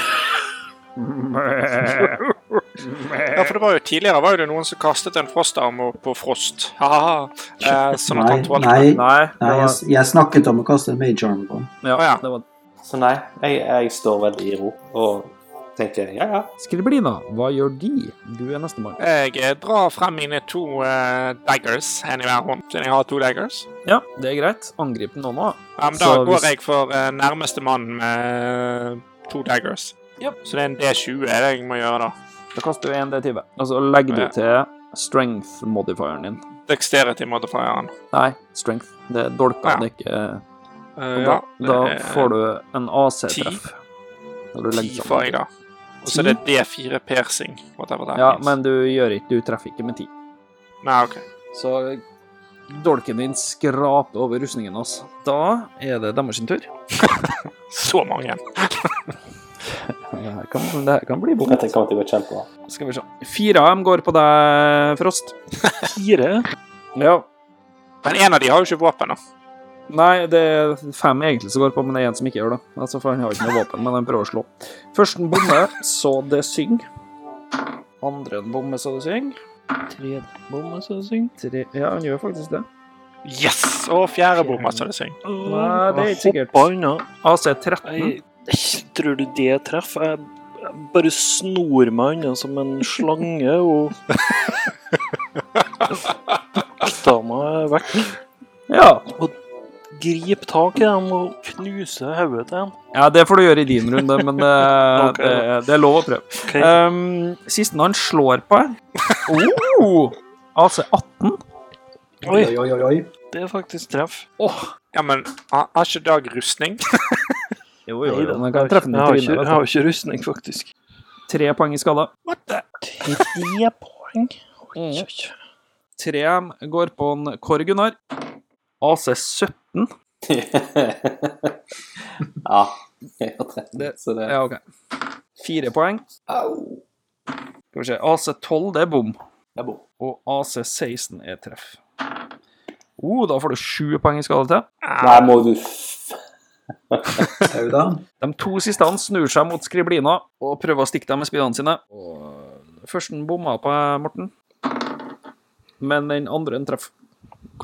S4: Ja, for det var jo Tidligere var jo det noen som kastet en frostarmer på Frost. Haha. Eh, sånn at
S5: Nei,
S4: han tålte
S5: nei, nei,
S1: Nei, det var,
S5: jeg, jeg snakket om å kaste en mage arm på han.
S1: ja,
S4: Å, ja.
S1: det var
S3: eh, Så nei, jeg, jeg står veldig i ro og tenker ja, ja.
S1: Skriblina, hva gjør de? Du er nestemann.
S4: Jeg eh, drar frem mine to eh, daggers, en i hver hånd, siden jeg har to daggers.
S1: Ja, det er greit. Angrip den nå, nå.
S4: Ja, men da
S1: Så hvis-
S4: går jeg for eh, nærmeste mann med to daggers. Så det er en D20 er det jeg må gjøre, da.
S1: Da kaster du 1D20. Og så legger du
S4: Ja.
S1: til strength-modifieren din.
S4: Dexterity modifieren.
S1: Nei, strength. Det er dolka,
S4: Ja.
S1: det er ikke
S4: Uh,
S1: Da, da får du en AC-treff. Når du
S4: Ti
S1: legger
S4: får jeg,
S1: sammen.
S4: da. Og så er det D4 piercing. Whatever that
S1: Ja,
S4: means.
S1: men du gjør ikke Du treffer ikke med ti.
S4: Nei, OK.
S1: Så dolken din skraper over rustningen hans. Da er det deres sin tur.
S4: Så mange.
S1: Det her kan, det her kan bli bom.
S3: Dette kommer til å gå kjempebra.
S1: Skal vi se. Fire av dem går på deg, Frost.
S2: Fire?
S1: Ja.
S4: Men en av de har jo ikke våpen, da.
S1: Nei, det er fem egentlig som går på, men det er én som ikke gjør det. Altså, for Han har ikke noe våpen, men han prøver å slå. Førsten bommer, så det synger. Andre bommer, så det synger. Tredje bommer, så det synger. Tre... Ja, han gjør faktisk det.
S4: Yes! Og fjerde bomma, så det synger.
S1: Nei, det er ikke sikkert.
S2: Hoppa unna.
S1: AC 13.
S2: Jeg, tror du det treffer? Jeg, jeg bare snor meg unna som en slange og Tar meg vekk.
S1: Ja.
S2: Grip tak i dem og knuse hodet til dem.
S1: ja, det får du gjøre i din runde, men det,
S2: Ok.
S1: det, det er lov å prøve.
S2: Ok,
S1: Um, Sisten han slår på oh, AC 18
S2: Oi.
S5: Oi, oi, oi, oi.
S2: Det er faktisk treff.
S4: Ja, men har har ikke Dag rustning?
S1: Jo,
S2: Nei da,
S1: Han kan treffe den
S2: jeg har
S1: i
S2: ikke, jeg
S1: trynet. altså.
S2: har ikke rustning, faktisk.
S1: Tre poeng i skade.
S4: What the?
S2: Tre poeng? Oi, oi, oi.
S1: Tre går på en Kåre Gunnar. AC 17.
S3: ja. Jeg har trent,
S1: Det-
S3: så det
S1: Ja, OK. Fire poeng.
S3: Au!
S1: Skal vi se. AC 12, det er bom.
S3: Det er bom.
S1: Og AC 16 er treff. Oh, da får du sju poeng i skade til.
S3: Nei, må du f-
S5: Sau da.
S1: De to siste han snur seg mot skriblina og prøver å stikke dem med spydene sine. Og Førsten bomma på Morten, men den andre en treff.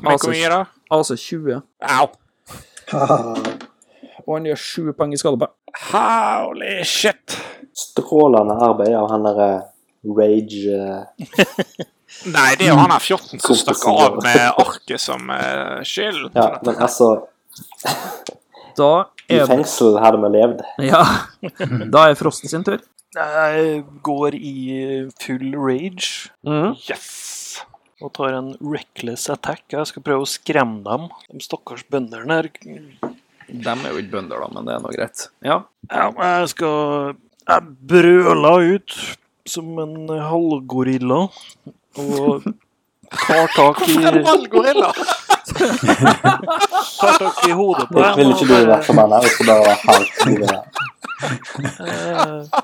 S1: Altså
S4: Men hvor mye, da?
S1: AC 20.
S4: Au.
S1: Og han gjør sju poeng i skade på.
S4: Holy shit.
S3: Strålende arbeid av han derre Rage eh,
S4: Nei, det er jo han her 14 som
S3: Kompisen
S4: stakk av
S3: vår.
S4: med arket som eh, skyld.
S3: Ja, men altså
S1: Da
S3: I
S1: er det
S3: fengsel hadde vi levd.
S1: Ja. Da er Frosten sin tur.
S2: Jeg går i full rage
S1: Mhm.
S4: Yes!
S2: og tar en reckless attack. Jeg skal prøve å skremme dem. De stakkars bøndene her.
S1: De er jo ikke bønder, da, men det er nå greit. Ja.
S2: Ja, Jeg skal Jeg brøler ut som en halvgorilla og tar tak i
S4: Gorilla.
S2: Tar tak i hodet på
S3: Jeg
S2: dem.
S3: ville ikke du vært som han her, hvis det bare var halvt mulig.
S2: Eh,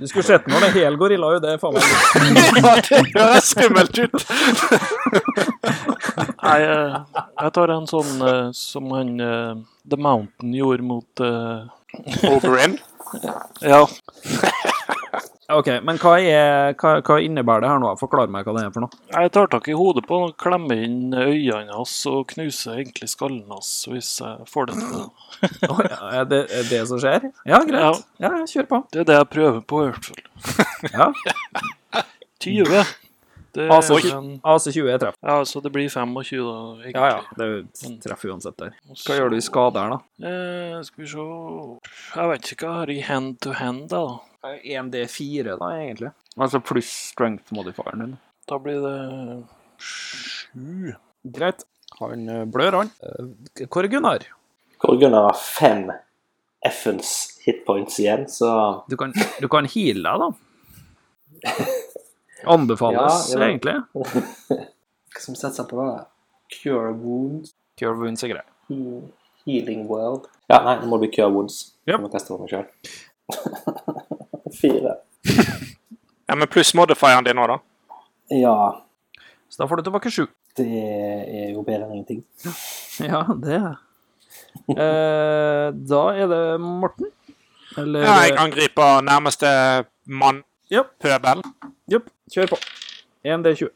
S1: Du skulle sett når det er hel gorilla, jo. Det er faen meg
S4: det høres skummelt ut.
S2: Nei, eh, jeg tar en sånn eh, som han eh, The Mountain gjorde mot eh,
S4: Oberyn.
S2: Ja,
S1: OK, men hva, er, hva, hva innebærer det her nå? Forklar meg hva det er for noe.
S2: jeg tar tak i hodet på han og klemmer inn øynene hans og knuser egentlig skallen hans hvis jeg får det til.
S1: Å, ja, er det er det som skjer? Ja, greit. Ja, ja, kjør på.
S2: Det er det jeg prøver på, i hvert fall.
S1: Ja.
S2: 20. Det er
S1: Altså,
S2: en,
S1: AC20 er treff.
S2: ja, så det blir 25, da, egentlig.
S1: Ja, Sånn. ja. Det er jo treff uansett der. Hva gjør du i skade her, da?
S2: Eh, skal vi se Jeg vet ikke hva jeg har i hand to hand, da.
S1: 1D4, da, egentlig. Altså pluss strength modifieren din.
S2: Da blir det sju.
S1: Greit. Han eh, blør, han. Eh, Hvor er Gunnar?
S3: Hvor Gunnar har fem F-ens hitpoints igjen, så
S1: Du kan, du kan heale deg, da. Anbefales,
S3: Ja, ja.
S1: egentlig.
S3: Hva som setter seg på det? Cure wound?
S1: Cure wounds er greit.
S3: Healing world? Ja, nei, nå må det bli cure wounds.
S1: Ja.
S3: Jeg må teste for meg sjøl. Fire.
S4: Ja, men pluss modifieren din nå, da.
S3: Ja,
S1: Så da får du tilbake sju.
S3: det er jo bedre enn ingenting.
S1: Ja, det er eh, Da er det Morten. Eller
S4: Ja, jeg angriper nærmeste mann.
S1: Ja.
S4: Pøbel.
S1: Jep, kjør på. 1D20.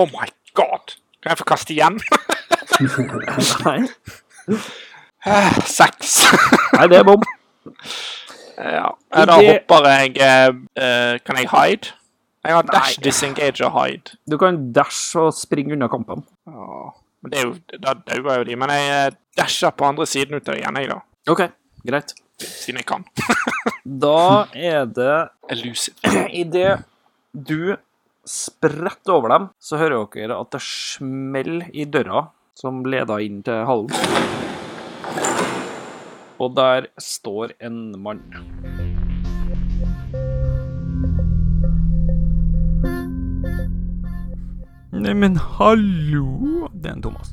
S4: Oh my god. Kan jeg få kaste igjen?
S1: Nei.
S4: Eh, Seks.
S1: Nei, det er bom.
S4: ja. eh, Da
S1: Det-
S4: hopper jeg eh, eh, Kan jeg hide? Jeg har dash, disengage og hide.
S1: Du kan dash og springe unna kampen.
S4: Men det er jo, Da dauer jo de. Men jeg eh, dasher på andre siden ut av igjen, jeg, da.
S1: OK, greit.
S4: Siden jeg kan.
S1: Da er det
S4: Elusive.
S1: Idet du spretter over dem, så hører dere at det smeller i døra som leder inn til hallen. Og der står en mann. Neimen, hallo! Det er en Thomas.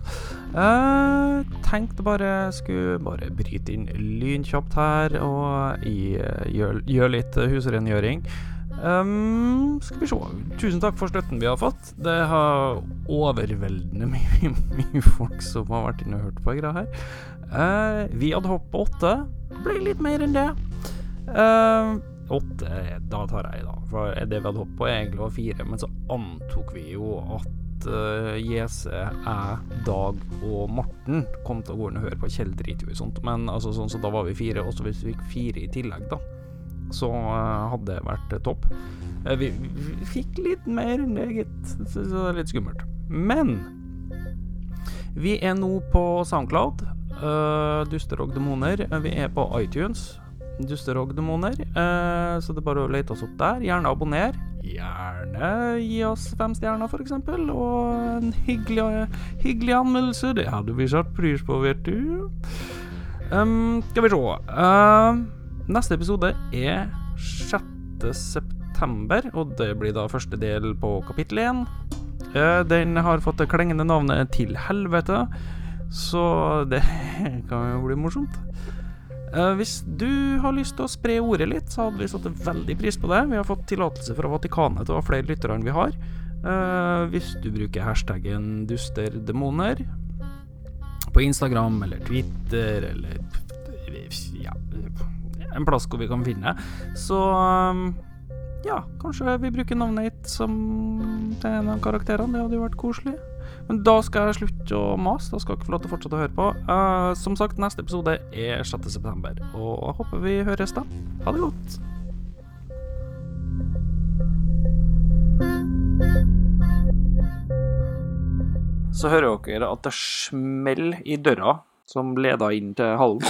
S1: Jeg tenkte bare skulle bare bryte inn lynkjapt her og i, eh, gjør, gjør litt husrengjøring. Ehm, skal vi se. Tusen takk for støtten vi har fått. Det har overveldende mye, mye folk som har vært inne og hørt på greia her. Eh, vi hadde hopp på åtte. Ble litt mer enn det. Ehm, åtte da tar jeg, da. For det vi hadde hopp på, er egentlig var fire. Men så antok vi jo at uh, JC, jeg, Dag og Morten kom til å gå inn og høre på Kjell driter jo i sånt. Men altså, sånn, så da var vi fire. Og så hvis vi fikk fire i tillegg, da så eh, hadde det vært eh, topp. Eh, vi, vi fikk litt mer enn det, gitt, så, så det er litt skummelt. Men vi er nå på Soundcloud, eh, Duster og demoner. Eh, Vi er på iTunes, Duster og demoner. eh, så det er bare å lete oss opp der. Gjerne abonner. Gjerne gi oss fem stjerner, f.eks., og en hyggelig, hyggelig anmeldelse. Det hadde vi satt pris på, vet du. Ehm, skal vi se. Ehm, Neste episode er 6. september, og det blir da første del på kapittel 1. Den har fått det klengende navnet Til helvete, så det kan jo bli morsomt. Eh, Hvis du har lyst til å spre ordet litt, så hadde vi satt veldig pris på det. Vi har fått tillatelse fra Vatikanet til å ha flere lyttere enn vi har. Eh, Hvis du bruker hashtaggen dusterdemoner på Instagram eller Twitter eller ja, en plass hvor vi kan finne. Så um, ja, kanskje vi bruker navnet ditt som til en av karakterene. Det hadde jo vært koselig. Men da skal jeg slutte å mase. Da skal dere få lov til å fortsette å høre på. Eh, som sagt, neste episode er 6.9., og jeg håper vi høres da. Ha det godt. Så hører dere at det smeller i døra som leder inn til hallen.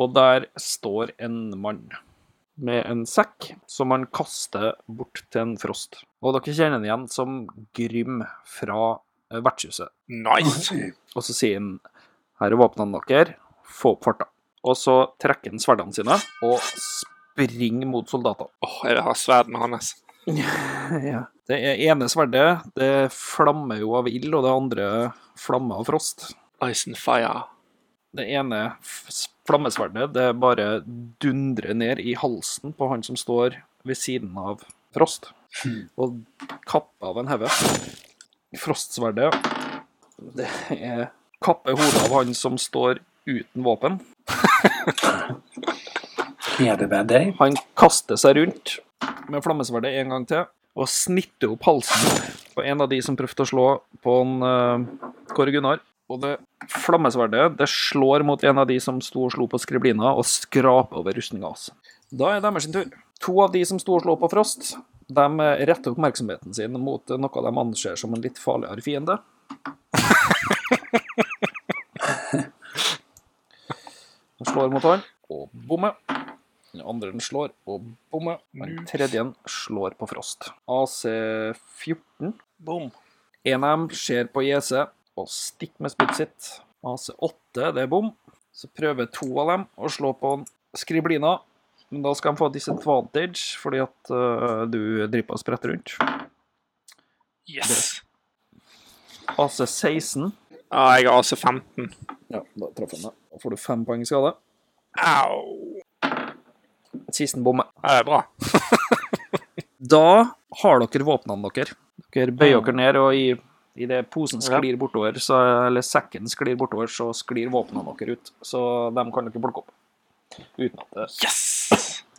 S1: Og der står en mann med en sekk som han kaster bort til en frost. Og dere kjenner han igjen som Grym fra eh, vertshuset.
S4: Nice.
S1: Og så sier han Her er våpnene deres, få opp farta. Og så trekker han sverdene sine og springer mot soldatene.
S4: Åh, jeg vil ha sverdene hans.
S1: Ja. Det ene sverdet det flammer jo av ild, og det andre flammer av frost.
S4: Ice and fire.
S1: Det ene f- flammesverdet det bare dundrer ned i halsen på han som står ved siden av Frost, og kapper av en hode. Frostsverdet det er kapper hodet av han som står uten våpen.
S5: Heavy bad day.
S1: Han kaster seg rundt med flammesverdet en gang til og snitter opp halsen på en av de som prøvde å slå på en eh, Kåre Gunnar. Og det flammesverdet det slår mot en av de som sto og slo på skriblina, og skraper over rustninga hans. Da er deres sin tur. To av de som sto og slo på Frost, de retter oppmerksomheten sin mot noe de anser som en litt farligere fiende. De slår mot han, og bommer. Den andre den slår og bommer. Den tredje den slår på Frost. AC14.
S4: Boom.
S1: En av dem ser på JC og stikker med spyttet sitt. AC8, det er bom. Så prøver to av dem å slå på en Skriblina. Men da skal de få disadvantage fordi at øh, du driver og spretter rundt.
S4: Yes.
S1: AC16.
S4: Ja, jeg har AC15.
S1: Ja, da traff han deg. Da får du fem poeng i skade.
S4: Au.
S1: Sisten bommer.
S4: Ja, det er bra.
S1: Da har dere våpnene dere. Dere
S4: Mm.
S1: bøyer dere ned, og i, i det posen sklir bortover, så, eller sekken sklir bortover, så sklir våpnene dere ut. Så dem kan dere plukke opp. Uten at det
S4: Yes!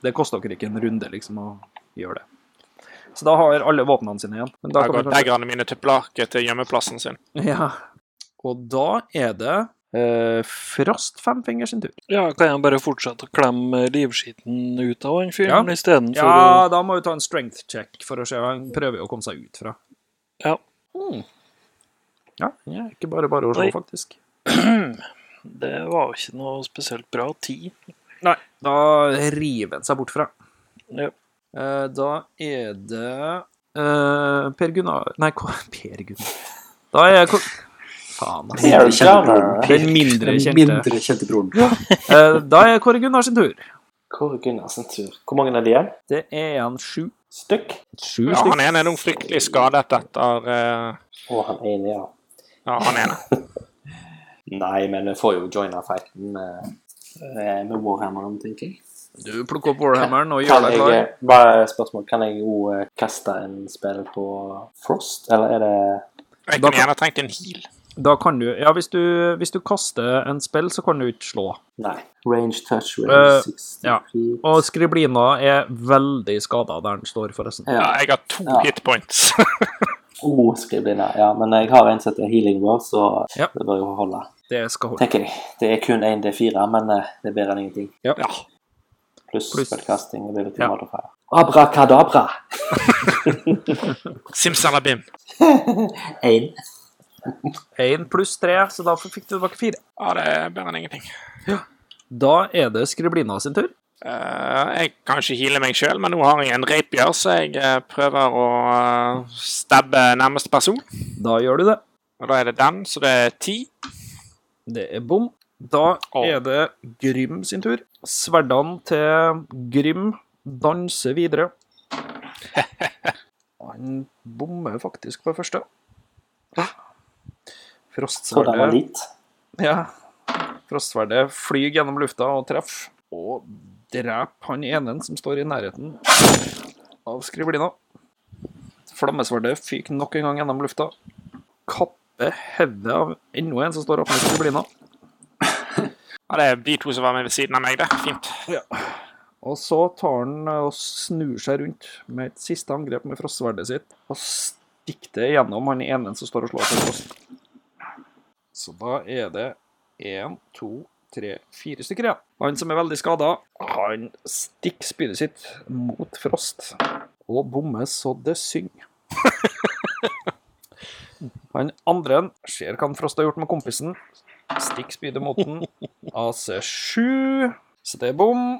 S1: Det koster dere ikke en runde, liksom, å gjøre det. Så da har alle våpnene sine igjen. Men da
S4: Da
S1: kan
S4: går
S1: dere-
S4: daggerne mine tilbake til gjemmeplassen sin.
S1: ja. Og da er det eh, Frost Femfinger sin tur.
S2: Ja, kan jeg bare fortsette å klemme livskiten ut av han fyren
S1: Ja.
S2: istedenfor å
S1: Ja, da må vi ta en strength check for å se. Han prøver jo å komme seg ut fra.
S2: Ja.
S1: Hmm. Ja, det er ikke bare bare å slå,
S2: Oi.
S1: faktisk.
S2: Det var jo ikke noe spesielt bra tid.
S1: Nei, da river han seg bort fra.
S2: Ja.
S1: Eh, da er det eh, Per Gunnar Nei, hva Per Gunnar Da er jeg Faen, altså.
S5: Heavy
S3: Gunnar.
S5: kjempebroren.
S1: Den mindre
S5: Den
S1: kjente.
S5: mindre kjente broren.
S1: Eh, da er Kåre Gunnar sin tur.
S3: Hvor er Gunnar sin tur? Hvor mange er det igjen?
S1: Det er igjen sju.
S3: Stykk?
S1: Sju
S4: Ja,
S1: stykker.
S4: han ene er noe fryktelig skadet etter eh,
S3: Å, han er inne, ja.
S4: Ja, han ene.
S3: Nei, men vi får jo joina fighten med, eh, med Warhammeren, tenker jeg.
S1: Du plukker opp Warhammeren og gjør
S3: Kan
S1: deg
S3: jeg,
S1: klar.
S3: eh, bare et spørsmål, kan jeg jo eh, kaste en spill på Frost, eller er det
S4: Jeg
S1: Da
S4: kunne gjerne trengt en heal.
S1: Da kan du Ja, hvis du, hvis du kaster en spill, så kan du ikke slå.
S3: Nei. Range touch,
S1: Eh,
S3: range 60
S1: ja.
S3: feet.
S1: Og Skriblina er veldig skada der den står, forresten.
S4: Ja,
S3: Ja.
S4: jeg har to
S3: Ja.
S4: hit points.
S3: Oh, skriblina. Ja, men jeg har en som heter Healing Word, så
S1: Ja.
S3: det bør jo holde.
S1: Det skal holde.
S3: Tenker jeg. Det er kun 1D4, men eh, det er bedre enn ingenting.
S4: ja.
S3: Pluss
S1: Pluss.
S3: spillkasting. Ability
S1: Ja.
S3: modifier. Abrakadabra!
S4: Simsalabim.
S3: Én.
S1: Én pluss tre, så da fikk du tilbake fire.
S4: Ja, det er bedre enn ingenting.
S1: Da er det Skriblina sin tur.
S4: Eh, jeg kan ikke heale meg sjøl, men nå har jeg en rapier, så jeg eh, prøver å eh, stabbe nærmeste person.
S1: Da gjør du det.
S4: Og da er det den, så det er ti.
S1: Det er bom. Da
S4: Å.
S1: er det Grym sin tur. Sverdene til Grym danser videre. Han bommer faktisk på første.
S3: Så det var
S1: Frostsverdet
S3: litt.
S1: ja. Frostsverdet flyr gjennom lufta og treffer. Og dreper han enen som står i nærheten av skrivelina. Flammesverdet fyker nok en gang gjennom lufta. Kapper hodet av enda en som står oppe med skrivelina.
S4: Ja, det er de to som var med ved siden av meg, det. Fint.
S1: Og så tar han eh, og snur seg rundt med et siste angrep med frostsverdet sitt, og stikker det gjennom han ene som står og slår seg frost. Så da er det én, to, tre, fire stykker igjen. Han som er veldig skada, han stikker spydet sitt mot frost, og bommer så det synger. Han andre ser hva han Frost har gjort med kompisen. Stikk spydet mot den. AC7. Så det er bom.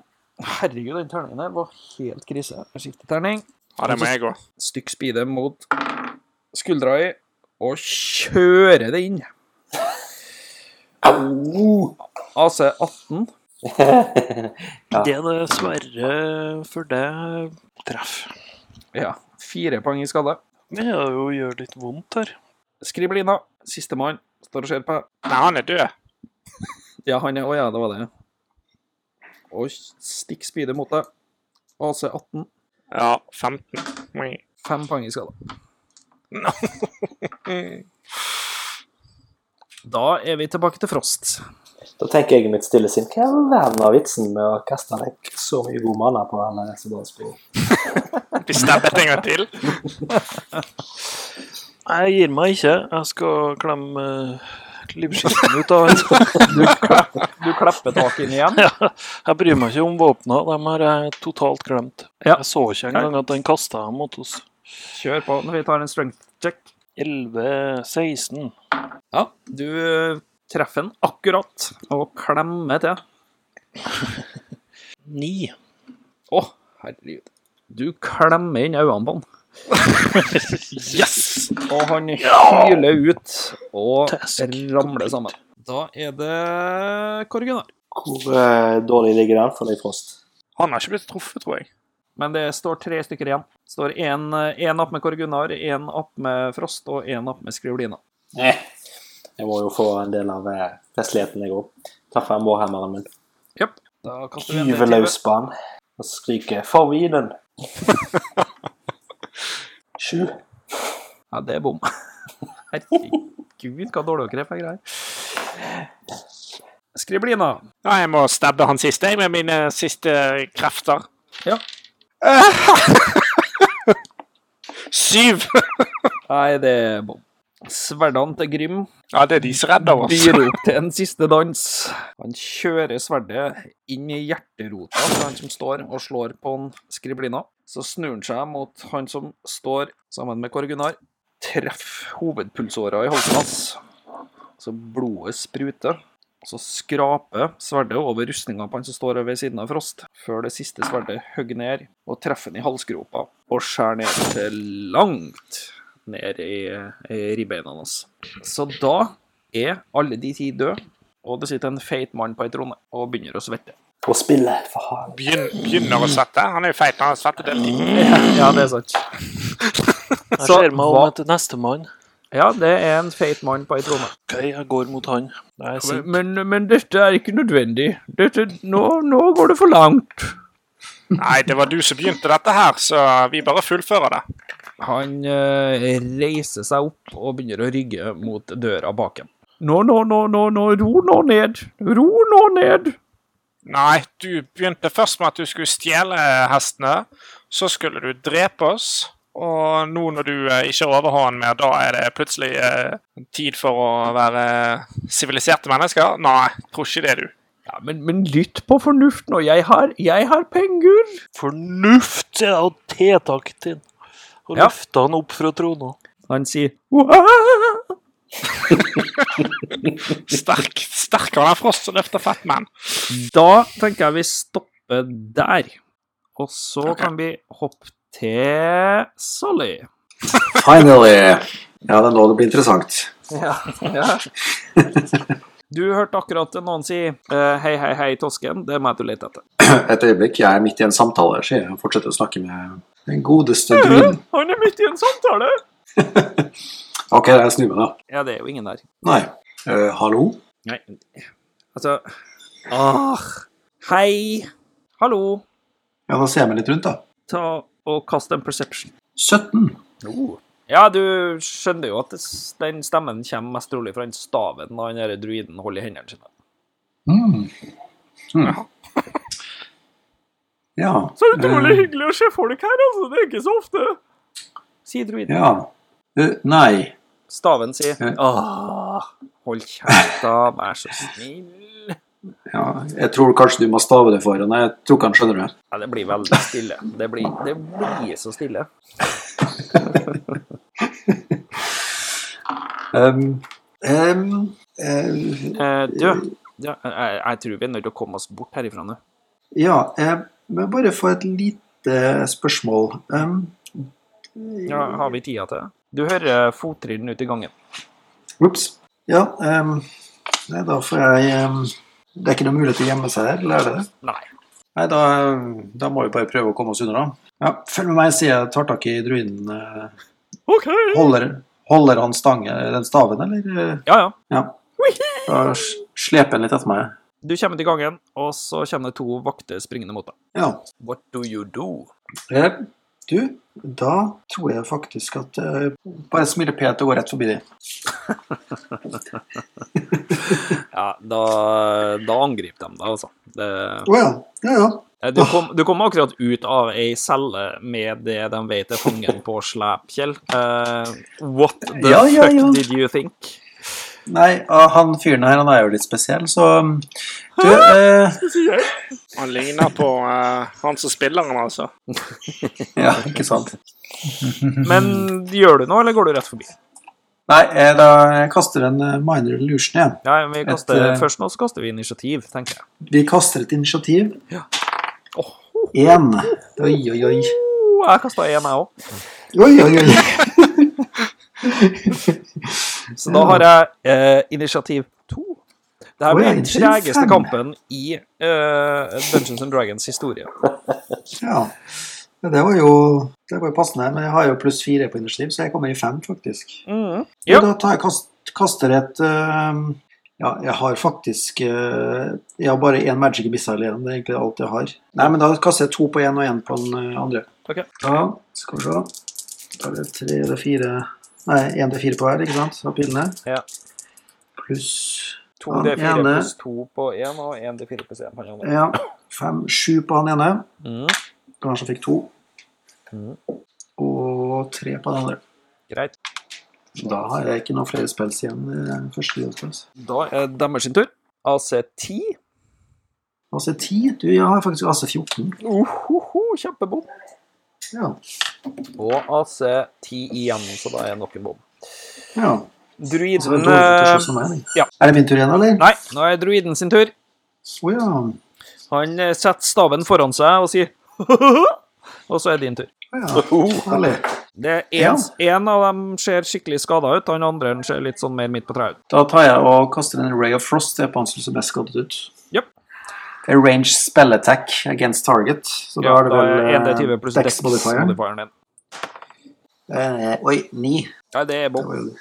S1: Herregud, den terningen der var helt krise. Forsiktig terning.
S4: Ja, det må jeg gå.
S1: Stykk spide mot skuldra i, og kjører det inn.
S9: Oh.
S1: AC 18.
S2: Det er dessverre for det treff.
S1: Ja. Fire poeng i skade.
S2: Det er jo gjør litt vondt her.
S1: Skriblina, sistemann, står og ser på.
S4: Nei, han er død.
S9: Ja, han er Å ja, det var det. Og stikk spydet mot deg. AC 18.
S4: Ja, 15. Oi.
S9: Fem poeng i skade.
S4: No.
S9: Da er vi tilbake til Frost.
S3: Da tenker jeg i mitt stille sinn hva er verden av vitsen med å kaste vekk så mye god mana på han eh, som bare spiller?
S4: Vi stabber en gang til.
S2: Jeg gir meg ikke. Jeg skal klemme uh, livskiten ut av henne.
S9: Du klapper tak inn igjen.
S2: Ja, jeg bryr meg ikke om våpna. Dem har jeg totalt glemt.
S9: Ja.
S2: Jeg så ikke engang at den kasta dem mot oss.
S9: Kjør på når vi tar en strength check.
S2: 11-16.
S9: Ja, du eh, treffer den akkurat og klemmer til.
S2: 9.
S9: Å, herregud. Du klemmer inn øynene på han.
S2: Yes!
S9: Og han hyler ut og
S2: Task
S9: ramler sammen. Da er det Korgunar.
S3: Hvor eh, dårlig ligger den for deg, Frost?
S4: Han har ikke blitt truffet, tror jeg.
S9: Men det står tre stykker igjen. Det står én opp med Korgunar, én opp med Frost og én opp med Skrivlina.
S3: Eh, jeg må jo få en del av eh, festligheten, jeg òg. Tar frem warhammeren min.
S9: Da kaster vi en
S3: Gyver
S9: del
S3: løs på han og skriker 'for vinen'. Sju.
S9: Ja, det er bom. Herregud, hva dårlig dere er for greier. Skriblina.
S4: Ja, jeg må stabbe han siste jeg, med mine siste krefter.
S9: Ja.
S4: Syv!
S9: Nei, det er bom. Sverdene til Grim
S4: Ja, det er de som redder oss.
S9: byr opp til en siste dans. Han kjører sverdet inn i hjerterota til han som står og slår på en Skriblina. Så snur han seg mot han som står sammen med Korgunar. Treff hovedpulsåra i halsen hans. Så blodet spruter. Så skraper sverdet over rustninga på han som står ved siden av Frost, før det siste sverdet hogger ned og treffer han i halsgropa og skjærer ned til langt ned i, i ribbeina hans. Så da er alle de ti døde, og det sitter en feit mann på ei trone og begynner å svette.
S3: Og spillet for hagen.
S4: Begyn, begynner å sette. Han er jo feit, han har svettet hele tiden.
S9: Ja, det er sant.
S2: Jeg
S9: Så,
S2: ser meg
S9: hva-
S2: om etter nestemann.
S9: Ja, det er en feit mann på ei trone.
S2: OK, jeg går mot han. Jeg er sint.
S9: Men, men dette er ikke nødvendig. Dette, nå, nå går det for langt.
S4: Nei, det var du som begynte dette her, så vi bare fullfører det.
S9: Han eh, reiser seg opp og begynner å rygge mot døra bak ham. Nå, nå, nå, nå, nå, ro nå ned. Ro nå ned.
S4: Nei, du begynte først med at du skulle stjele hestene. Så skulle du drepe oss. Og nå når du eh, ikke har overhånd mer, da er det plutselig eh, tid for å være siviliserte mennesker? Nei, tror ikke det, du.
S9: Ja, men, men lytt på fornuften, og jeg har, jeg har penger.
S2: Fornuft er jo tiltaket din. Og
S9: Ja.
S2: løfta han opp fra trona.
S9: Han sier «Wow!»
S4: Sterk, sterkere enn Frost som løfter Fatman.
S9: Da tenker jeg vi stopper der. Og så kan vi hoppe til Solly.
S5: Finally! Ja, det er nå det blir interessant.
S9: Du hørte akkurat noen si eh, 'Hei, hei, hei, tosken'. Det er meg du leter etter.
S5: Et øyeblikk, jeg er midt i en samtale, sier jeg og fortsetter å snakke med den godeste druiden.
S9: Han er midt i en samtale!
S5: Ok, jeg snur meg, da.
S9: Ja, det er jo ingen der.
S5: Nei. Eh, hallo?
S9: Nei, altså ah, Hei. Hallo.
S5: Ja, da ser jeg meg litt rundt, da.
S9: Ta og kast en perception.
S5: 17.
S9: Ja, du skjønner jo at det- den stemmen kommer mest trolig fra den staven han der druiden holder i hendene sine.
S5: Mm. Mm. Ja.
S9: Så
S5: eh,
S9: hyggelig å se folk her, altså. Det er ikke så ofte. Sier druiden.
S5: ja. Eh, nei.
S9: Staven sier
S5: Ja.
S9: Åh, hold kjeft, da. Vær så snill.
S5: Ja, jeg tror kanskje du må stave det foran. Jeg tror ikke han skjønner det.
S9: Ja, det blir veldig stille. Det blir, det blir så stille.
S5: Um, um, eh,
S9: Eh, du, ja, jeg, jeg tror vi er nødt til å komme oss bort herifra nå.
S5: ja, jeg må bare få et lite spørsmål. Um,
S9: Ja, har vi tida til det? Du hører fottrinn ute i gangen.
S5: Ops. Ja, ehm, nei, da får jeg ehm, Det er ikke noe mulighet til å gjemme seg her, eller er det det?
S9: Nei.
S5: Nei, da, da må vi bare prøve å komme oss unna, da. Ja, følg med meg, sier jeg, tar tak i druiden. eh,
S9: OK.
S5: Holder, holder han stange, den staven, eller? eh?
S9: Ja, ja.
S5: Ja. Da s- sleper jeg litt etter meg.
S9: Du kommer ut i gangen, og så kommer det to vakter springende mot deg.
S5: Ja.
S9: What do you do?
S5: Eh, Du, da tror jeg faktisk at eh, Bare smiler pent og går rett forbi dem.
S9: Ja, da, da angriper de deg, altså. Det,
S5: Å ja. Ja, ja.
S9: Eh, du, kom, du kom akkurat ut av ei celle med det de vet er fangen på slep, Kjell. Eh, what the
S5: Ja, ja,
S9: fuck
S5: ja.
S9: did you think?
S5: Nei, ah, han fyren her, han er jo litt spesiell, så um, Du, eh,
S4: Han ligner på eh, han som spiller han, altså.
S5: Ja, ikke sant.
S9: Men gjør du noe, eller går du rett forbi?
S5: Nei, eh, da jeg kaster en eh, minor illusion igjen.
S9: Ja, vi kaster,
S5: Et, eh,
S9: Først nå så kaster vi initiativ, tenker jeg.
S5: Vi kaster et initiativ.
S9: Åh.
S5: Én. Oi, oi, oi.
S9: Oh, jeg kasta én, jeg òg.
S5: Oi, oi, oi.
S9: Så da har jeg eh, initiativ to. Dette
S5: Oi,
S9: blir den
S5: initiativ
S9: tregeste
S5: fem.
S9: kampen i eh, Dungeons and Dragons historie.
S5: Ja. Ja, Det var jo det var jo passende, men jeg har jo pluss fire på initiativ, så jeg kommer i fem, faktisk.
S9: Mhm.
S5: Ja.
S9: Ja.
S5: Da tar jeg kast, kaster et eh, Ja, jeg har faktisk eh, Jeg har bare én magic missile igjen. Det er egentlig alt jeg har. Nei, men da kaster jeg to på én og én på den eh, andre.
S9: Ok.
S5: Ja, skal vi se. Da er det tre eller fire Nei, én til fire på hver, ikke sant? Av pilene.
S9: Ja.
S5: Pluss
S9: To
S5: Han
S9: D4
S5: ene-
S9: pluss to på én, og én D4 pluss én på den andre.
S5: Ja, fem, sju på han ene.
S9: Mhm.
S5: Kanskje fikk to.
S9: Mhm.
S5: Og tre på den andre.
S9: Greit.
S5: Så da har jeg ikke noen flere spels igjen. eh, Første hjelpespels.
S9: Da er demmer sin tur. AC10.
S5: AC10? Altså, Du, jeg har faktisk altså AC14.
S9: Ohoho, kjempebom.
S5: Ja.
S9: Og AC10 igjen, så da er nok en bom.
S5: ja. Så det
S9: Druiden
S5: er dårlig til å slå
S9: eh,
S5: som meg, jeg.
S9: ja.
S5: Er det min tur igjen, eller?
S9: Nei, nå er druiden sin tur.
S5: Å ja.
S9: Han eh, setter staven foran seg og sier Og så er din tur.
S5: Å,
S9: Oh.
S5: ja. Herlig.
S9: Det er
S5: Ja.
S9: en, en av dem ser skikkelig skada ut, han andre han ser litt sånn mer midt på treet ut.
S5: Da tar jeg og kaster en Ray of Frost. Det er på han som ser best skadet ut.
S9: Japp.
S5: Det er range spell attack against target. Så da
S9: Ja,
S5: er det
S9: da
S5: vel eh,
S9: er 1D20 pluss
S5: Dex modifier.
S9: Dex-modifieren din.
S5: Eh, oi, ni.
S9: Ja, det er
S5: Det
S9: bom.
S5: var jo det.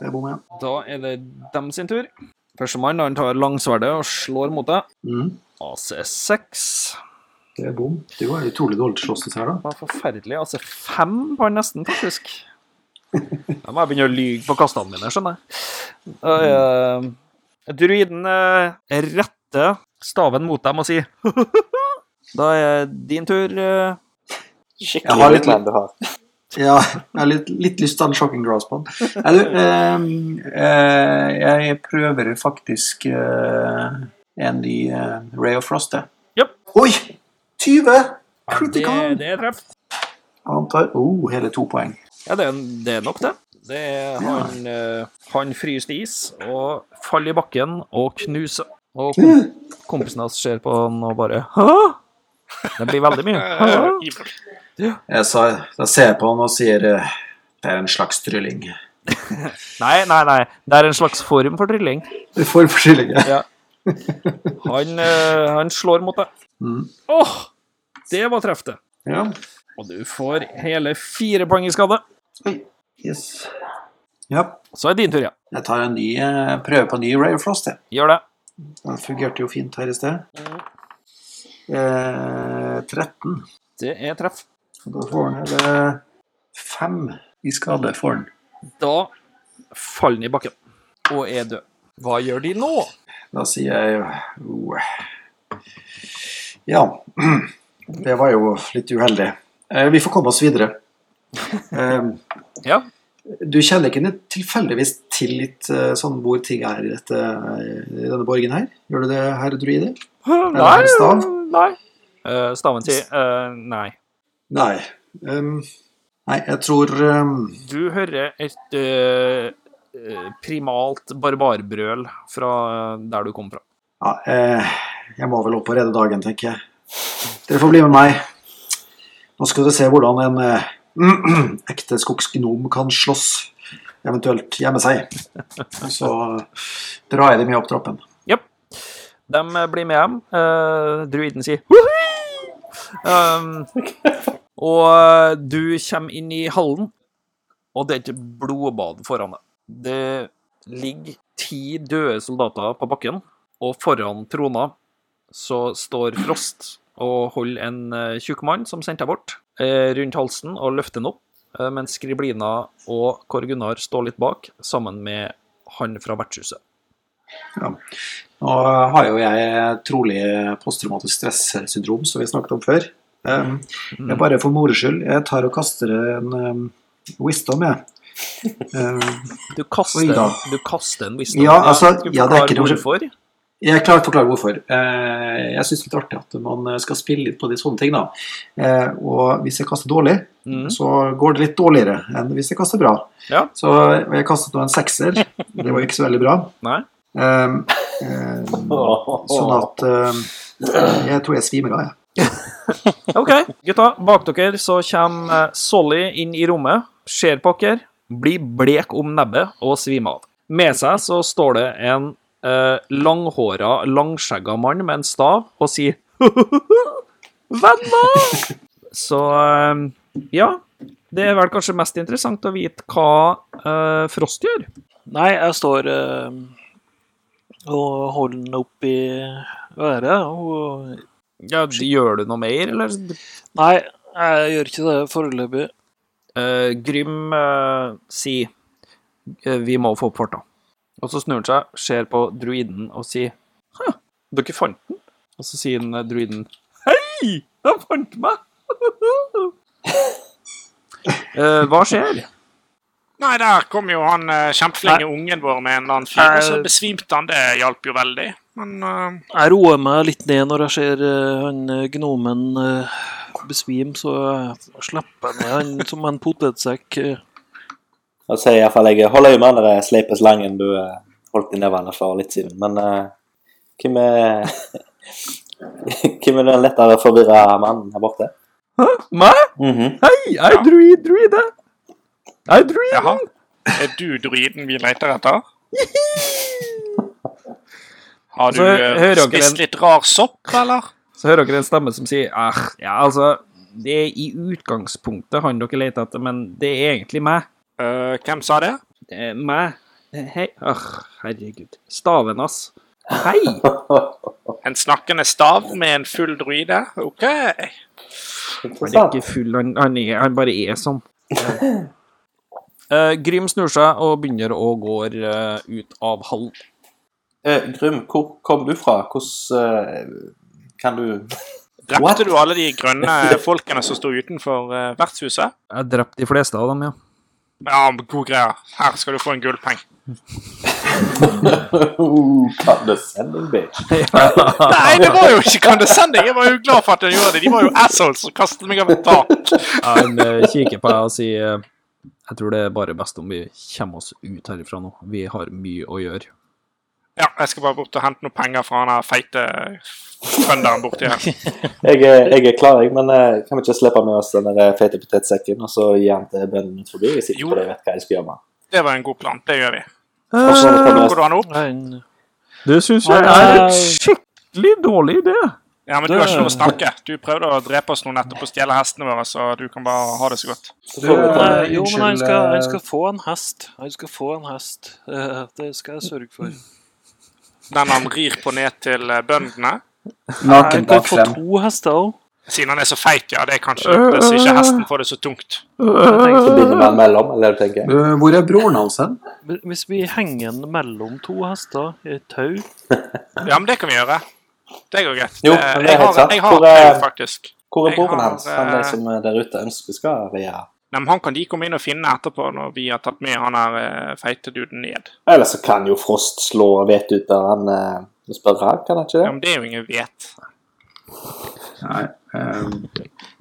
S5: Det er bom, ja.
S9: Da er det dem sin tur. Førstemann han tar langsverdet og slår mot deg.
S5: Mm,
S9: AC6.
S5: det er bom. Du er utrolig dårlig til å slåss dette her, da.
S9: Det var forferdelig. AC5 på han nesten, faktisk. Da må jeg begynne å lyge på kastene mine, skjønner jeg. Da er, eh, druiden eh, retter staven mot dem og sier Da er din tur. eh,
S5: Jeg
S3: Skikkelig
S5: har litt-
S3: Batman du har.
S5: Ja, jeg har litt, litt lyst til å ha en shocking grass på den. Nei, du, ehm, eh, jeg prøver faktisk eh, en ny eh, Ray of Frost, jeg.
S9: Japp.
S5: Oi! 20!
S9: Det,
S5: Critical!
S9: det er treff.
S5: Han tar oh, hele to poeng.
S9: Ja, det er, det er nok, det. det er, han, eh, han fryser til is og faller i bakken og knuser. Og kom, kompisen hans ser på han og bare Hæ? Det blir veldig mye. Hæ?
S4: Eh, evil.
S5: Jeg sa, da ser jeg på han og sier eh, det er en slags trylling.
S9: Nei, nei, nei. Det er en slags form for trylling.
S5: Du får forskjellige.
S9: Han, eh, han slår mot deg.
S5: Mm.
S9: Åh! det var treff, det.
S5: Ja.
S9: Og du får hele fire poeng i skade.
S5: Yes. Ja.
S9: Så er det din tur, ja.
S5: Jeg tar en ny, eh, prøver på en ny Ray of Frost, jeg.
S9: Gjør det.
S5: Den fungerte jo fint her i sted. Eh, 13.
S9: Det er treff.
S5: Da får han hele fem i skade. får han.
S9: Da faller han i bakken og er død. Hva gjør de nå?
S5: Da sier jeg jo Ja. Det var jo litt uheldig. Eh, Vi får komme oss videre. Eh,
S9: Ja.
S5: Du kjenner ikke ned- tilfeldigvis til litt eh, sånn hvor ting er i, dette, i denne borgen her? Gjør du det, herre druide? det en stav?
S9: nei. Eh, staven sier eh, nei.
S5: Nei. Em, nei, jeg tror em,
S9: Du hører et eh, eh, primalt barbarbrøl fra eh, der du kom fra.
S5: Ja, eh, jeg må vel opp og redde dagen, tenker jeg. Dere får bli med meg. Nå skal dere se hvordan en eh, ekte skogsgnom kan slåss, eventuelt gjemme seg. Og så drar jeg dem med opp trappen.
S9: De blir med hjem. Eh, druiden sier «Woohoo!» um, Og eh, du kommer inn i hallen, og det er et blodbad foran deg. Det ligger ti døde soldater på bakken, og foran trona så står Frost og holder en eh, tjukk mann som sendte henne bort, eh, rundt halsen og løfter den opp, eh, mens Skriblina og Kåre Gunnar står litt bak, sammen med han fra vertshuset.
S5: Nå har jo jeg trolig posttraumatisk stressyndrom, som vi snakket om før. Eh, Jeg bare for moro skyld, jeg tar og kaster en eh, wisdom, jeg. Eh,
S9: Du
S5: Oi
S9: kaster,
S5: da.
S9: du kaster en visdom.
S5: Ja, altså,
S9: du
S5: ja, det er ikke
S9: forklarer
S5: noe-
S9: hvorfor.
S5: Jeg klarer å forklare hvorfor. Eh, Jeg syns det er litt artig at man eh, skal spille litt på de sånne ting, da. Eh, Og hvis jeg kaster dårlig,
S9: Mm.
S5: så går det litt dårligere enn hvis jeg kaster bra.
S9: Ja.
S5: Så og jeg kastet nå en sekser. Det var jo ikke så veldig bra.
S9: Nei.
S5: Eh, eh, sånn at eh, Jeg tror jeg svimer av, jeg.
S9: OK, gutta. Bak dere så kommer eh, Solly inn i rommet, ser på dere, blir blek om nebbet og svimer av. Med seg så står det en eh, langhåra, langskjegga mann med en stav og sier Venner! Så eh, ja. Det er vel kanskje mest interessant å vite hva eh, Frost gjør.
S2: Nei, jeg står eh, og holder den opp i været. Og
S9: Ja, gjør du noe mer, eller?
S2: Nei, jeg gjør ikke det foreløpig.
S9: Eh, Grym eh, sier eh, vi må få opp farta. Og så snur han seg, ser på druiden og sier Hæ, dere fant den? Og så sier den, eh, druiden Hei, de fant meg! Eh, hva skjer?
S4: Nei, der kom jo han eh, kjempeflinke ungen vår med en eller annen fyr, og så besvimte han. Det hjalp jo veldig. Men eh,
S2: Jeg roer meg litt ned når jeg ser eh, han eh, gnomen eh, besvime, så jeg slipper ned han som en potetsekk. eh,
S3: Da sier jeg iallfall jeg holder øye med den der sleipe slangen du eh, holdt i nevene for litt siden, men eh, hvem er Hvem er den lettere forvirra mannen her borte?
S9: Meg?
S3: Mhm.
S9: Hei, jeg er druid, druide. Jeg er druid.
S4: jaha. Er du druiden vi leter etter? Har du
S9: Så
S4: eh,
S9: hører dere den-
S4: spist litt rar sopp, eller?
S9: Så hører dere en stemme som sier ah, ja, altså, det er i utgangspunktet han dere leter etter, men det er egentlig meg.
S4: Eh, hvem sa det?
S9: Det er Eh, meg. Hei. Åh, herregud. Staven, ass. Hei!
S4: En snakkende stav med en full druide? OK.
S9: Han er ikke full, han, han, er, han bare er sånn. Eh, Grym snur seg og begynner å gå eh, ut av hallen.
S3: Eh, Grym, hvor kom du fra? Hvordan eh, kan du What?
S4: Drepte du alle de grønne folkene som sto utenfor eh, vertshuset?
S9: Jeg drepte de fleste av dem, ja.
S4: Ja, god greie. Her skal du få en gullpeng.
S3: Condescending bitch.
S4: Nei, det var jo ikke condescending. Jeg var jo glad for at hun gjorde det. De var jo assholes som kastet meg over et tak.
S9: Han eh, kikker på meg og sier eh, jeg tror det er bare best om vi kommer oss ut herifra nå. Vi har mye å gjøre.
S4: Ja, jeg skal bare bort og hente noen penger fra han her feite trønderen borti her.
S3: Jeg er, jeg er klar, jeg, men eh, kan vi ikke slippe med oss den der eh, feite potetsekken og så gi den til bøndene ut forbi? Jeg sitter
S4: Jo.
S3: på det, jeg vet hva jeg skal gjøre med den.
S4: Det var en god plan. Det gjør vi.
S3: Og så kan
S4: Plukker
S3: Eh, du-
S4: du han opp?
S2: Han
S9: Det syns jeg er en skikkelig dårlig idé.
S4: Ja, men du har ikke lov å snakke. Du prøvde å drepe oss nå nettopp og stjele hestene våre, så du kan bare ha det så godt.
S3: så får vi ta
S2: Nei,
S3: den.
S5: Eh,
S2: jo, men han
S5: unnskyld,
S2: skal, han
S5: eh,
S2: skal få en hest. Han skal få en hest. Eh, Det skal jeg sørge for.
S4: Den han rir på ned til eh, bøndene.
S2: Han
S3: eh,
S5: Naken
S2: kan få
S5: bakfrem.
S2: to hester òg.
S4: Siden han er så feit, ja. Det er kanskje lurt, så ikke hesten får det så tungt.
S3: Så binder vi den mellom, eller hva du tenker?
S5: Eh, Hvor er broren hans hen?
S2: Hvis vi henger den mellom to hester i et tau
S4: Ja, men det kan vi gjøre. Det går greit.
S3: Jo,
S4: Det-
S3: men det er
S4: jeg
S3: helt
S4: har,
S3: sant.
S4: jeg har
S3: For det-
S4: prøvd, faktisk.
S3: Hvor er
S4: Jeg
S3: broren
S4: har,
S3: hans? Han er
S4: eh,
S3: som eh, der ute ønsker skal regjere.
S4: Nei, men han kan de komme inn og finne etterpå, når vi har tatt med han her eh, feite duden ned.
S3: Eller så kan jo Frost slå vet ut der han eh, spør Rav, kan han ikke
S4: Ja,
S3: det?
S4: men det er jo ingen vet.
S5: Nei, eh,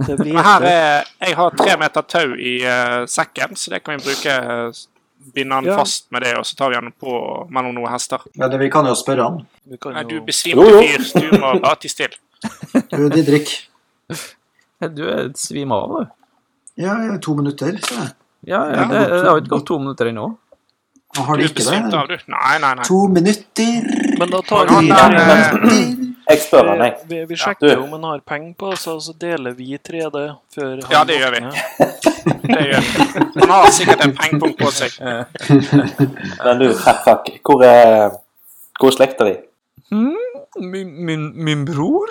S2: det vet
S4: Men her
S2: jeg.
S4: er, jeg har tre meter tau i eh, sekken, så det kan vi bruke. eh, binde han
S2: Ja.
S4: fast med det, og så tar vi han på mellom noen hester.
S5: ja, det, vi kan jo spørre han.
S2: Vi kan
S4: Nei, du
S2: jo-
S4: besvimte
S3: Jo, jo.
S4: fyr, så du må bare tie stille.
S5: Du, Didrik.
S9: Du er svima av, du.
S5: Ja, to minutter, sa jeg.
S9: Ja, ja,
S5: Ja,
S9: det,
S5: godt.
S9: det har ikke gått to minutter ennå.
S5: Og Har
S4: Du
S5: du ikke
S4: besvimte
S5: det?
S4: av, du. Nei, nei, nei.
S5: To minutter
S2: Men da tar
S4: Han
S2: vi
S4: der, eh,
S2: Nei,
S3: Jeg spør han, jeg.
S2: Vi, vi, vi sjekker
S3: du.
S2: om han har penger på oss, og så deler vi i 3D før
S4: Ja, det gjør vi. Det gjør vi. Han har sikkert en pengepung på seg.
S3: Men du, Fatfuck, hvor er, hvor er slekta di,
S9: Min, min, min bror,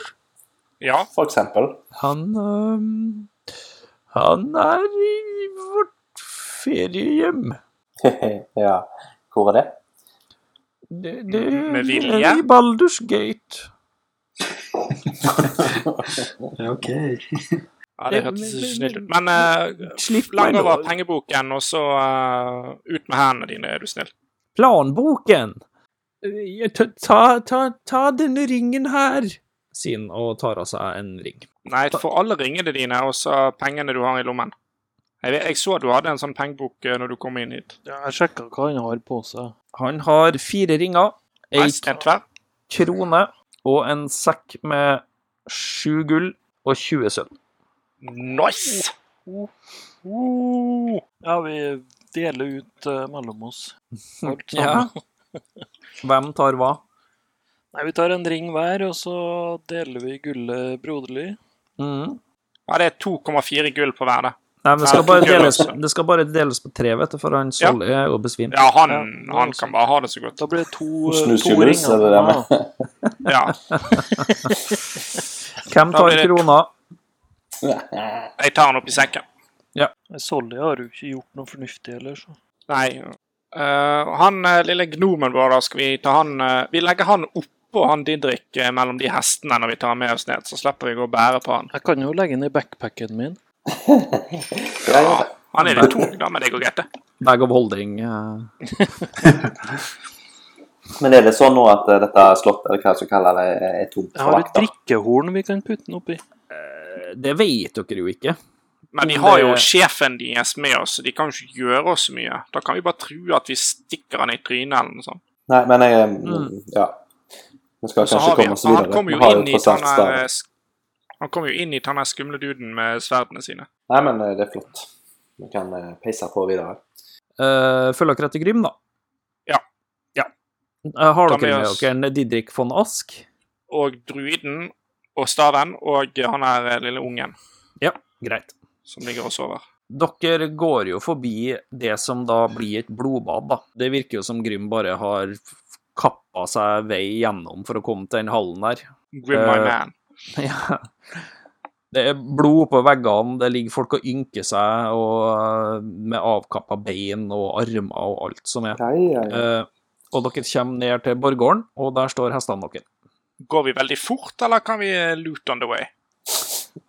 S4: Ja,
S3: for eksempel?
S9: han øhm, Han er i vårt feriehjem.
S3: ja. Hvor er det?
S9: Det, det
S4: Mm, Med vilje?
S9: er i Baldur's Gate.
S5: Ja, OK.
S4: ja det hørtes ikke snilt ut. Men eh,
S9: Slipp meg
S4: lang
S9: nå.
S4: over pengeboken, og så eh, ut med hendene dine, er du snill.
S9: Planboken! Eh, Ta, ta, ta, ta denne ringen her, sier han og tar av seg en ring.
S4: Nei, få alle ringene dine, og så pengene du har i lommen. Jeg, vet, jeg så du hadde en sånn pengebok eh, når du kom inn hit.
S2: Ja, jeg sjekker hva han har på seg.
S9: Han har fire ringer, ei
S4: Mest en tverr.
S9: krone og en sekk med sju gull og 20 sølv.
S4: Nice! Oh.
S2: Uh, ja, vi deler ut eh, mellom oss. Alt
S9: Ja.
S2: sammen.
S9: Hvem tar hva?
S2: Nei, vi tar en ring hver, og så deler vi gullet broderlig.
S9: Mhm.
S4: Ja, det er 2,4 gull på hver, det.
S9: Nei, men det skal,
S4: Ja,
S9: bare
S4: gull
S9: deles,
S4: også.
S9: det skal bare deles på tre, vet du, for han
S4: Ja.
S9: Solli er jo besvimt.
S4: Ja, han,
S2: Ja, det er
S4: han
S2: også-
S4: kan bare ha det så godt.
S2: Da blir det to, eh,
S3: Snus
S2: to
S3: i lus,
S2: ringer.
S3: er det det med?
S2: Ja.
S4: Ja.
S9: Hvem
S4: Da
S9: tar
S4: blir det-
S9: krona?
S4: Jeg tar han opp i sekken.
S2: Nei, Solly har jo ikke gjort noe fornuftig heller, så.
S4: Nei. eh, han eh, lille gnomen vår, da skal vi ta han eh, Vi legger han oppå han Didrik eh, mellom de hestene når vi tar med oss ned, så slipper vi å gå og bære på han.
S2: Jeg kan jo legge den i backpacken min.
S3: Ja, ja.
S4: Han er litt tung, da, men det går greit, det.
S9: Bag of holding. eh.
S3: Men er det sånn nå at eh, dette slottet, eller hva jeg skal kalle det, er- er tomt
S2: Jeg
S3: for
S2: har et
S3: vakter?
S2: drikkehorn vi kan putte den oppi.
S9: Eh, Det vet dere jo ikke.
S4: Men vi
S9: Men
S4: har
S9: det-
S4: jo sjefen deres med oss, så de kan jo ikke gjøre oss så mye. Da kan vi bare true at vi stikker han i trynet eller noe sånt.
S3: Nei, men jeg eh,
S9: Mm.
S3: Ja. Vi skal
S4: Så
S3: kanskje
S4: har vi,
S3: komme oss videre.
S4: han kommer
S3: Vi har
S4: jo inn i
S3: tross alt
S4: han her
S3: stavet.
S4: eh, sk- Han kommer jo inn i han her skumle duden med sverdene sine.
S3: Nei, men eh, det er flott. Vi kan eh, peise på videre.
S9: Eh, følger dere etter Grim, da?
S4: Ja.
S9: Ja. Eh, har
S4: Ta
S9: dere
S4: med
S9: med
S4: oss-
S9: dere en Didrik von Ask?
S4: Og druiden og staven og han her eh, lille ungen
S9: Greit.
S4: som ligger og sover.
S9: Dere går jo forbi det som da blir et blodbad, da. Det virker jo som Grim bare har f- kappa seg vei gjennom for å komme til den hallen der.
S4: Grim my
S9: Eh,
S4: man.
S9: Ja. Det er blod på veggene, det ligger folk og ynker seg, og eh, med avkappa bein og armer og alt som er.
S3: Ja, ja, ja.
S9: Eh, og dere kommer ned til borggården, og der står hestene deres.
S4: Går vi veldig fort, eller kan vi eh, loot on the way?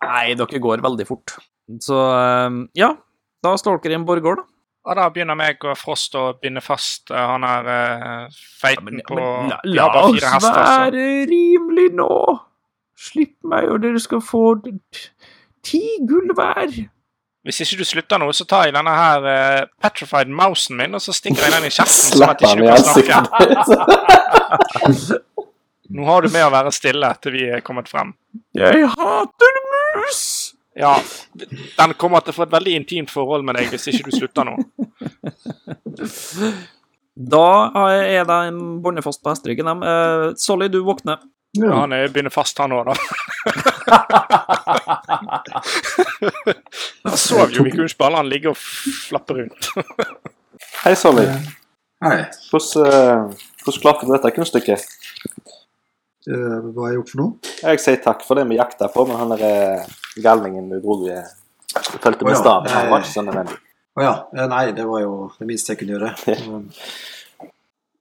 S9: Nei, dere går veldig fort. Så eh, ja, da står dere i en borggård, da.
S4: Og da begynner meg og Frost å binde fast eh, han her eh,
S9: Ja,
S4: feiten
S9: men,
S4: på
S9: men, la,
S4: Vi
S9: la
S4: har bare
S9: oss
S4: fire hester, så-
S9: være rimelig nå! Slipp meg, og dere skal få d- t- ti gull hver.
S4: Hvis ikke du slutter nå, så tar jeg denne her eh, petrified mousen min, og så stikker jeg den i kjeften. sånn at
S3: Slapp
S4: ikke
S3: han
S4: du
S3: i
S4: kan snakke.
S3: ansiktet.
S4: Nå har du med å være stille til vi er kommet frem.
S9: Jeg hater mus!
S4: Ja, den kommer til å få et veldig intimt forhold med deg hvis ikke du slutter nå.
S9: Da er de båndet fast på hesteryggen. dem. Eh, Solly, du våkner.
S4: Ja,
S5: Ja.
S4: han er- begynner fast, han òg, da. Han sov jo, vi kunne ikke bare la han ligge og flappe rundt.
S3: Hei, Solly.
S5: Hei.
S3: Hvordan, eh, hvordan klarte du dette kunststykket?
S5: Eh, hva har jeg gjort for noe?
S3: Jeg sier takk for det vi jakta på, men han der eh, galningen du dro i Fulgte
S5: Å
S3: med
S5: ja,
S3: staven, han
S5: nei.
S3: var ikke så nødvendig.
S5: Å ja. eh, Nei, det var jo det minste jeg kunne gjøre. Eh,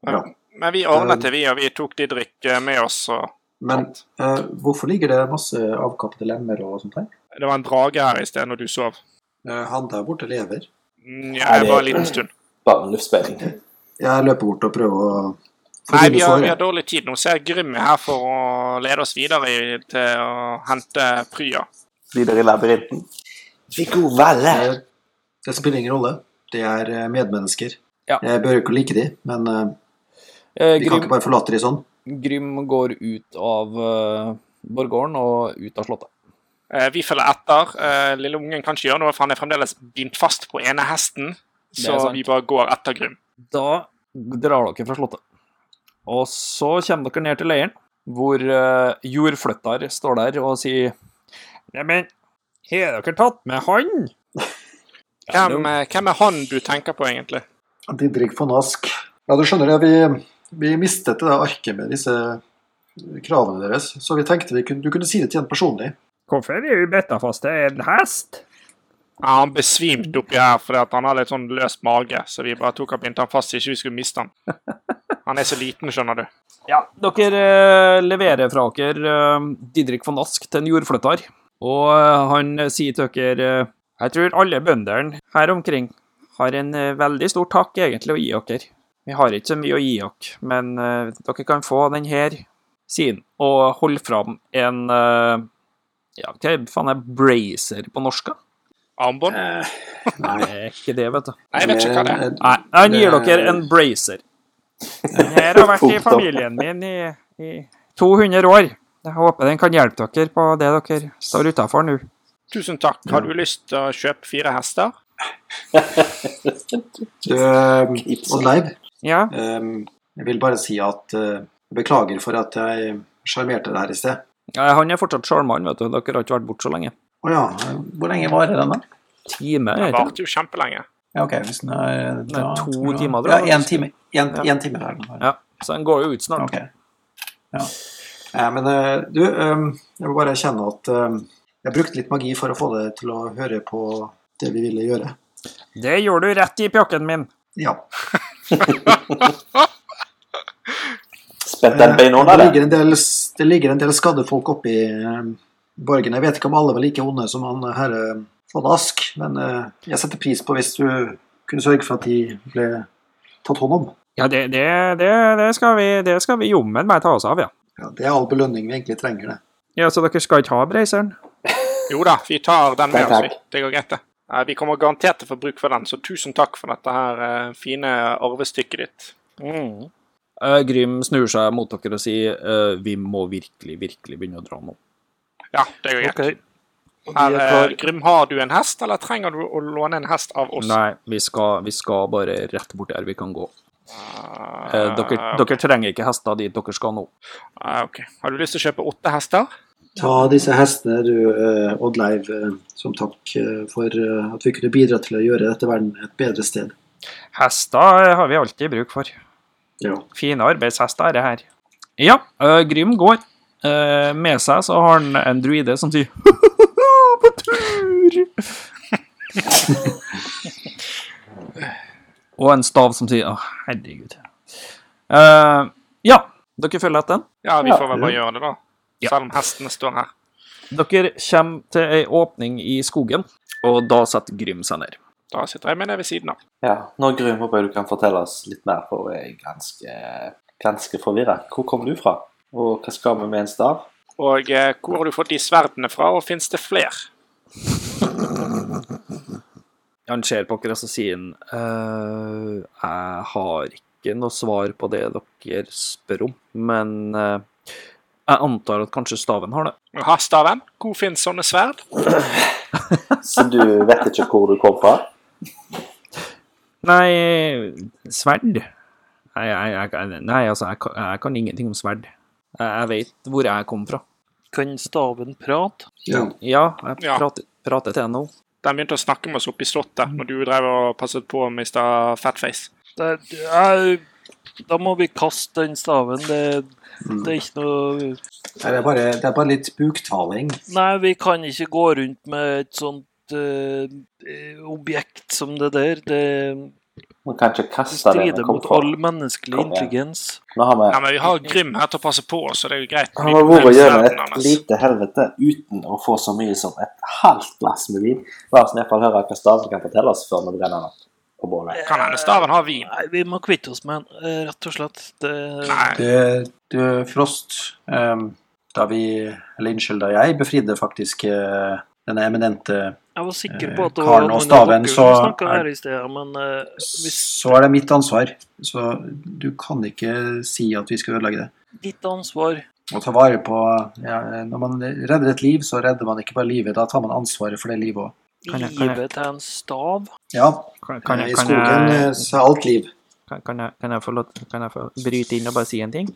S5: Ja.
S4: Men vi ordnet det, vi, og vi tok Didrik eh, med oss. og
S5: Men eh, hvorfor ligger det masse avkappede lemmer og sånt her?
S4: Det var en drage her i sted når du sov. Mm,
S5: Eh, han der borte lever.
S4: Nja, jeg var en liten stund.
S3: Bare en luftspenning.
S5: Jeg løper bort og prøver å få
S4: Nei,
S5: ryddet
S4: vi har, vi har
S5: såret.
S4: dårlig tid nå, så jeg Grym er her for å lede oss videre i- til å hente Prya.
S3: Videre i labyrinten. Viggo Valle.
S5: Eh, Det spiller ingen rolle. Det er eh, medmennesker.
S10: Ja.
S5: Jeg bør jo ikke like de, men eh,
S10: Eh,
S5: vi kan ikke
S10: Grym,
S5: bare forlate de sånn.
S10: Grym går ut av eh, borggården og ut av slottet.
S4: Eh, Vi følger etter. Eh, Lille ungen kan ikke gjøre noe, for han er fremdeles bindt fast på ene hesten.
S10: Det er
S4: Så
S10: sant.
S4: vi bare går etter Grym.
S10: Da drar dere fra slottet. Og så kommer dere ned til leiren.
S9: hvor eh, jordflytter står der og sier Neimen, har dere tatt med han?
S4: Hvem, eh, hvem er han du tenker på, egentlig?
S5: Didrik von Ask. Ja, du skjønner det, vi, vi mistet det der arket med disse eh, kravene deres, så vi tenkte vi kunne, du kunne si det til en personlig.
S6: Hvorfor er vi bitt fast til en hest?
S4: Ja, han besvimte oppi her fordi at han hadde litt sånn løs mage, så vi bare tok og bindte han fast så ikke vi skulle miste han. Han er så liten, skjønner du.
S9: Ja, dere eh, leverer fra dere eh, Didrik von Ask til en jordflytter, og eh, han sier til dere eh, Jeg tror alle bøndene her omkring har en eh, veldig stor takk egentlig å gi dere. Vi har ikke så mye å gi dere, men eh, dere kan få den her siden, og holde fram en eh, Ja, hva faen er bracer på norsk? da?
S4: Armbånd?
S5: Eh, nei.
S9: Det er ikke det, vet du.
S4: Nei, jeg vet ikke hva det er.
S5: Men,
S9: Nei, han gir
S5: Det-
S9: dere en bracer.
S6: Den her har vært i
S3: Punktum.
S6: familien min i, i 200 år. Jeg håper den kan hjelpe dere på det dere står utafor nå.
S4: Tusen takk. Har du lyst til å kjøpe fire hester?
S5: Du, eh, Oddleiv,
S6: Ja,
S5: eh, jeg vil bare si at eh, beklager for at jeg sjarmerte deg her i sted.
S9: Nei, han er fortsatt sjarmant, vet du. Dere har ikke vært borte så lenge.
S5: Å ja, eh, hvor lenge varer den, da?
S9: Time,
S4: Det
S9: er det?
S4: varte jo kjempelenge.
S5: Ja, ok, hvis den er da,
S9: Nei, to
S5: skal vi ha-
S9: timer, tror
S5: Ja,
S9: jeg.
S5: én time. Én
S9: Ja.
S5: én time er den. bare.
S9: Ja, så den går jo ut snart.
S5: Ok. Ja. Eh, men eh, du, eh, jeg må bare erkjenne at eh, jeg brukte litt magi for å få deg til å høre på det vi ville gjøre.
S6: det gjorde du rett i pjokken min.
S5: Ja.
S3: Spent den beina
S5: Eh,
S3: under
S5: det,
S3: det.
S5: ligger en del, det ligger en del skadde folk oppi eh, borgen. Jeg vet ikke om alle var like onde som han eh, herre von Ask, men eh, jeg setter pris på hvis du kunne sørge for at de ble tatt hånd om.
S6: Ja, det, det, det, det skal vi, det skal vi jommen meg ta oss av, ja.
S5: Ja, det er all belønning vi egentlig trenger, det.
S6: Ja, Så dere skal ikke ha breiseren?
S4: Jo da, vi tar den med
S3: Takk,
S4: oss.
S3: takk.
S4: vi. Det går greit, det. Nei, Vi kommer garantert til å få bruk for den, så tusen takk for dette her eh, fine arvestykket ditt.
S9: Eh, Grym snur seg mot dere og sier eh, vi må virkelig, virkelig begynne å dra nå.
S4: Ja, det går greit.
S9: Ok.
S4: Her, eh, Grym, har du en hest, eller trenger du å låne en hest av oss?
S9: Nei, vi skal, vi skal bare rett bort der vi kan gå. Eh,
S4: Eh,
S9: dere, dere trenger ikke hester dit dere skal nå.
S4: eh, ok. Har du lyst til å kjøpe åtte hester?
S5: Ta disse hestene, du, eh, Oddleiv, eh, som takk eh, for eh, at vi kunne bidra til å gjøre dette verden et bedre sted.
S9: eh,
S6: Hester har vi alltid bruk for.
S5: Ja.
S6: Fine arbeidshester er det her.
S9: Ja, eh, Grym går. Eh, med seg så har han en druide som sier på tur! og en stav som sier å, herregud. Eh, ja, dere følger etter den.
S4: Ja, vi
S3: Ja.
S4: får vel bare gjøre det, da. Selv om hestene står her.
S9: Dere kommer til ei åpning i skogen, og da setter Grym seg ned.
S4: Da sitter jeg med det ved siden av.
S3: Ja, nå gruer jeg meg på at du kan fortelle oss litt mer, for jeg er ganske, ganske forvirra. Hvor kom du fra, og hva skal vi med en stav?
S4: Og eh, hvor har du fått de sverdene fra, og fins det flere?
S9: Han ser på dere og så sier han, «Eh, Jeg har ikke noe svar på det dere spør om, men eh, jeg antar at kanskje staven har det.
S4: Jaha, staven? Hvor fins sånne sverd?
S3: Så du vet ikke hvor du kom fra?
S9: Nei, sverd? Nei, jeg, jeg, jeg- nei altså, jeg, kan- jeg kan ingenting om sverd. Jeg, jeg vet hvor jeg kom fra.
S2: Kan staven prate?
S5: ja.
S9: Ja, jeg
S4: Ja.
S9: Prater, prater til NO.
S4: Den begynte å snakke med oss oppe i slottet når du drev og passet på Mr. Fatface.
S2: Det, det er, da må vi kaste den staven. Det,
S5: Mm.
S2: det er ikke noe
S5: Nei, Det, er bare, det er bare litt buktaling.
S2: Nei, vi kan ikke gå rundt med et sånt eh, eh, objekt som det der. Det
S3: Vi kan ikke kaste det vi
S2: strider
S3: kom
S2: mot
S3: fra.
S2: all menneskelig
S3: Kom igjen.
S2: intelligens.
S3: Nå har vi
S4: Nei, men vi har Grym her til å passe på oss, så det er jo greit.
S3: han har vært gjennom
S4: Sverdene
S3: et
S4: hans.
S3: lite helvete uten å få så mye som et halvt glass med vin. La oss i hvert fall høre hva staven kan fortelle oss før vi brenner den opp på bålet.
S4: Kan hende staven har vin.
S2: Nei, vi må kvitte oss med den, eh, rett og slett. Det,
S4: Nei,
S5: Du, du Frost, ehm, da vi, eller unnskyld, da jeg befridde faktisk eh, denne eminente,
S2: jeg var sikker
S5: Eh,
S2: på at det
S5: Karen
S2: var
S5: og
S2: noen av
S5: staven,
S2: dere som
S5: så
S2: snakket
S5: er-
S2: her i sted, men eh, hvis
S5: så er det mitt ansvar. Så du kan ikke si at vi skal ødelegge det.
S2: ditt ansvar
S5: Å ta vare på ja, Når man redder et liv, så redder man ikke bare livet, da tar man ansvaret for det livet òg.
S6: Kan jeg- kan jeg-
S2: livet til en stav
S5: Ja,
S6: Kan, kan,
S5: i
S6: jeg, kan,
S5: skogen
S6: jeg,
S5: eh, så er alt liv.
S6: kan, kan, jeg, kan, jeg få lov, kan jeg få bryte inn og bare si en ting?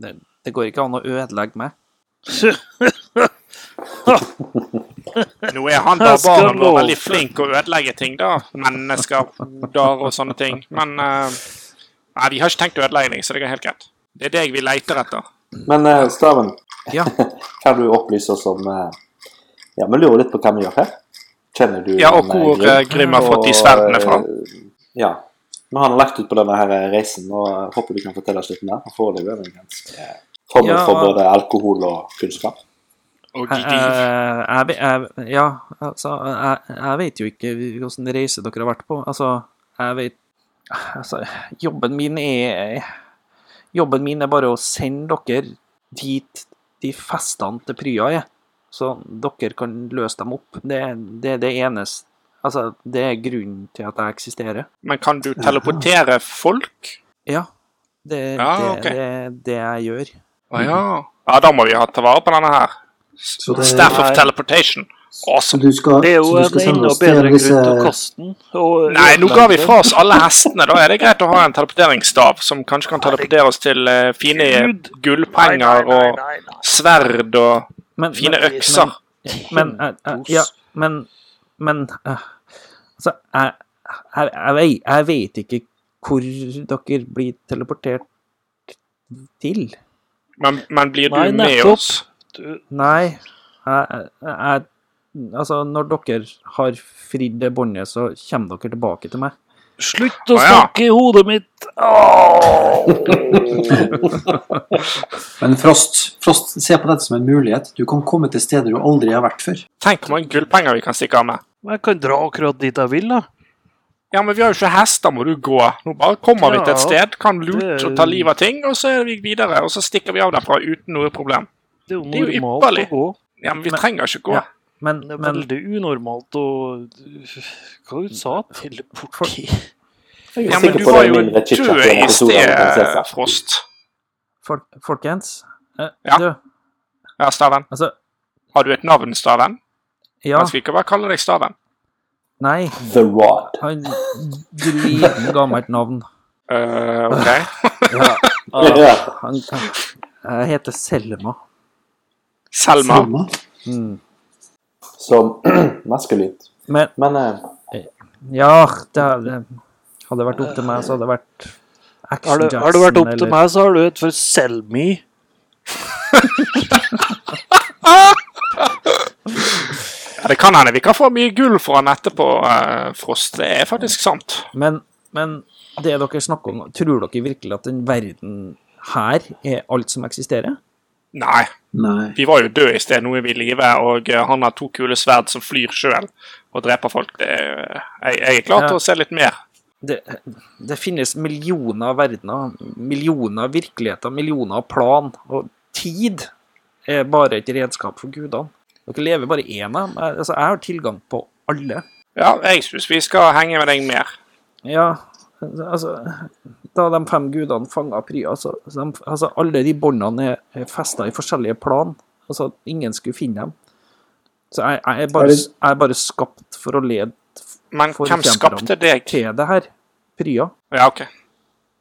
S6: Det,
S9: Det går ikke an å ødelegge meg.
S4: Nå er han
S2: Jeg skal
S4: barbaren og
S2: love.
S4: veldig flink å ødelegge ting, da. Mennesker, hoder og sånne ting. Men eh, nei, vi har ikke tenkt å ødelegge deg, så det er helt greit. Det er deg vi leter etter.
S3: Men eh, Staven,
S9: Ja.
S3: kan du opplyse oss om eh, Ja, vi lurer litt på hva vi gjør her. Kjenner du
S4: Ja, og
S3: en, eh,
S4: hvor, eh, Grim har fått de sverdene
S3: Og,
S4: fra?
S3: eh, Ja. Vi har nå lagt ut på denne her eh, reisen, og jeg håper du kan fortelle oss litt mer. Og Foreløpig er det en ganske eh, form
S9: Ja,
S3: for
S9: og-
S3: både alkohol og kunnskap.
S4: Og
S9: Jeg,
S4: de
S9: eh, jeg, ve- jeg, ja, altså, jeg, jeg vet jo ikke hvilken reise dere har vært på. Altså, jeg vet Altså, jobben min er Jobben min er bare å sende dere dit de festene til Prya er. Så dere kan løse dem opp. Det, det er det eneste Altså, det er grunnen til at jeg eksisterer.
S4: Men kan du teleportere folk?
S9: Ja. Det er
S4: Ja,
S9: det,
S4: ok.
S9: det, det jeg gjør.
S4: Å ja. Ja, da må vi ha ta vare på denne her.
S5: Så det-
S4: Staff of teleportation.
S5: Så
S4: Awesome.
S5: du skal,
S2: Det er jo
S5: så du skal
S2: en
S5: sende
S2: enda
S5: oss til eh,
S2: bedre grunn
S5: disse
S2: til å kaste den. og
S4: Nei, nå ga vi
S2: ødelegge den.
S4: fra oss alle hestene. Da er det greit å ha en teleporteringsstav som kanskje kan teleportere oss til eh, fine
S2: Gud.
S4: gullpenger og
S2: nei, nei.
S4: sverd og
S9: Men,
S4: fine
S9: men-
S4: økser.
S9: Men, eh, eh, ja, men, men eh, Altså, jeg, jeg, jeg, vei- jeg vet ikke hvor dere blir teleportert til.
S4: Men, men blir du
S2: Nei,
S4: med
S2: nettopp.
S4: oss?
S2: Du-
S9: Nei, jeg, jeg, jeg Altså, når dere har fridd det båndet, så kommer dere tilbake til meg.
S2: Slutt å
S4: Å, ja.
S2: snakke i hodet mitt! Åh.
S5: Men Frost, Frost, se på dette som en mulighet. Du kan komme til steder du aldri har vært før.
S4: Tenk hvor mange gullpenger vi kan stikke av med.
S2: Men jeg kan dra akkurat dit jeg vil, da.
S4: Ja, men vi har jo ikke hester, må du gå. Nå bare kommer vi til et
S2: Ja,
S4: sted, kan lute
S2: det-
S4: og ta livet av ting, og så er vi videre. Og så stikker vi av derfra uten noe problem.
S2: Det er jo
S4: Det er jo
S2: normalt
S4: ypperlig.
S2: å gå.
S4: Ja, men vi
S9: Men-
S4: trenger ikke gå.
S9: ja. Men,
S2: Det er
S9: men
S2: veldig unormalt å Hva du sa du? Teleportere
S3: Jeg er
S4: Ja, men
S3: sikker
S4: du
S3: på
S4: var
S3: det er
S4: jo
S3: mindre chit-chat
S4: død
S3: i denne
S4: i
S3: episoden enn den
S4: sted,
S3: siste.
S4: Frost.
S9: folk, folkens eh,
S4: Ja.
S9: Du,
S4: Ja, Staven.
S9: altså
S4: Har du et navn, Staven?
S9: Ja,
S4: Jeg skal ikke bare kalle deg Staven.
S9: nei
S3: The Rod.
S9: Han driten ga meg et navn.
S4: Eh, ok.
S3: Ja.
S9: Han, jeg heter Selma.
S4: Selma.
S5: Selma.
S9: Mm.
S3: Som maskulint.
S9: Men
S3: Men eh,
S9: ja, det hadde hadde det vært opp til meg, så hadde det vært Action
S2: Har det,
S9: Jackson.
S2: har det vært opp til
S9: eller-
S2: meg, så har du et for Selmi.
S4: Ja, det kan hende vi kan få mye gull for han etterpå, eh, Frost. Det er faktisk sant.
S9: Men, men det dere snakker om, tror dere virkelig at den verden her er alt som eksisterer?
S4: Nei,
S5: Nei.
S4: vi var jo døde i sted. Nå er vi i live, og eh, han har to kule sverd som flyr sjøl og dreper folk. Det, er- jeg, jeg er klar
S9: Ja.
S4: til å se litt mer.
S9: Det, det finnes millioner av verdener, millioner av virkeligheter, millioner av plan, og tid er bare et redskap for gudene. Dere lever bare én av dem. Jeg- Altså, jeg har tilgang på alle.
S4: Ja, jeg syns vi skal henge med deg mer.
S9: Ja, altså Da de fem gudene fanga Prya, så så de, altså, alle de båndene er- er festa i forskjellige plan. Altså, ingen skulle finne dem. Så jeg, jeg, er, bare, jeg er bare skapt for å lede
S4: Men
S9: For
S4: hvem
S9: eksempel om-
S4: skapte deg?
S9: til det her. Prya.
S4: Ja, OK.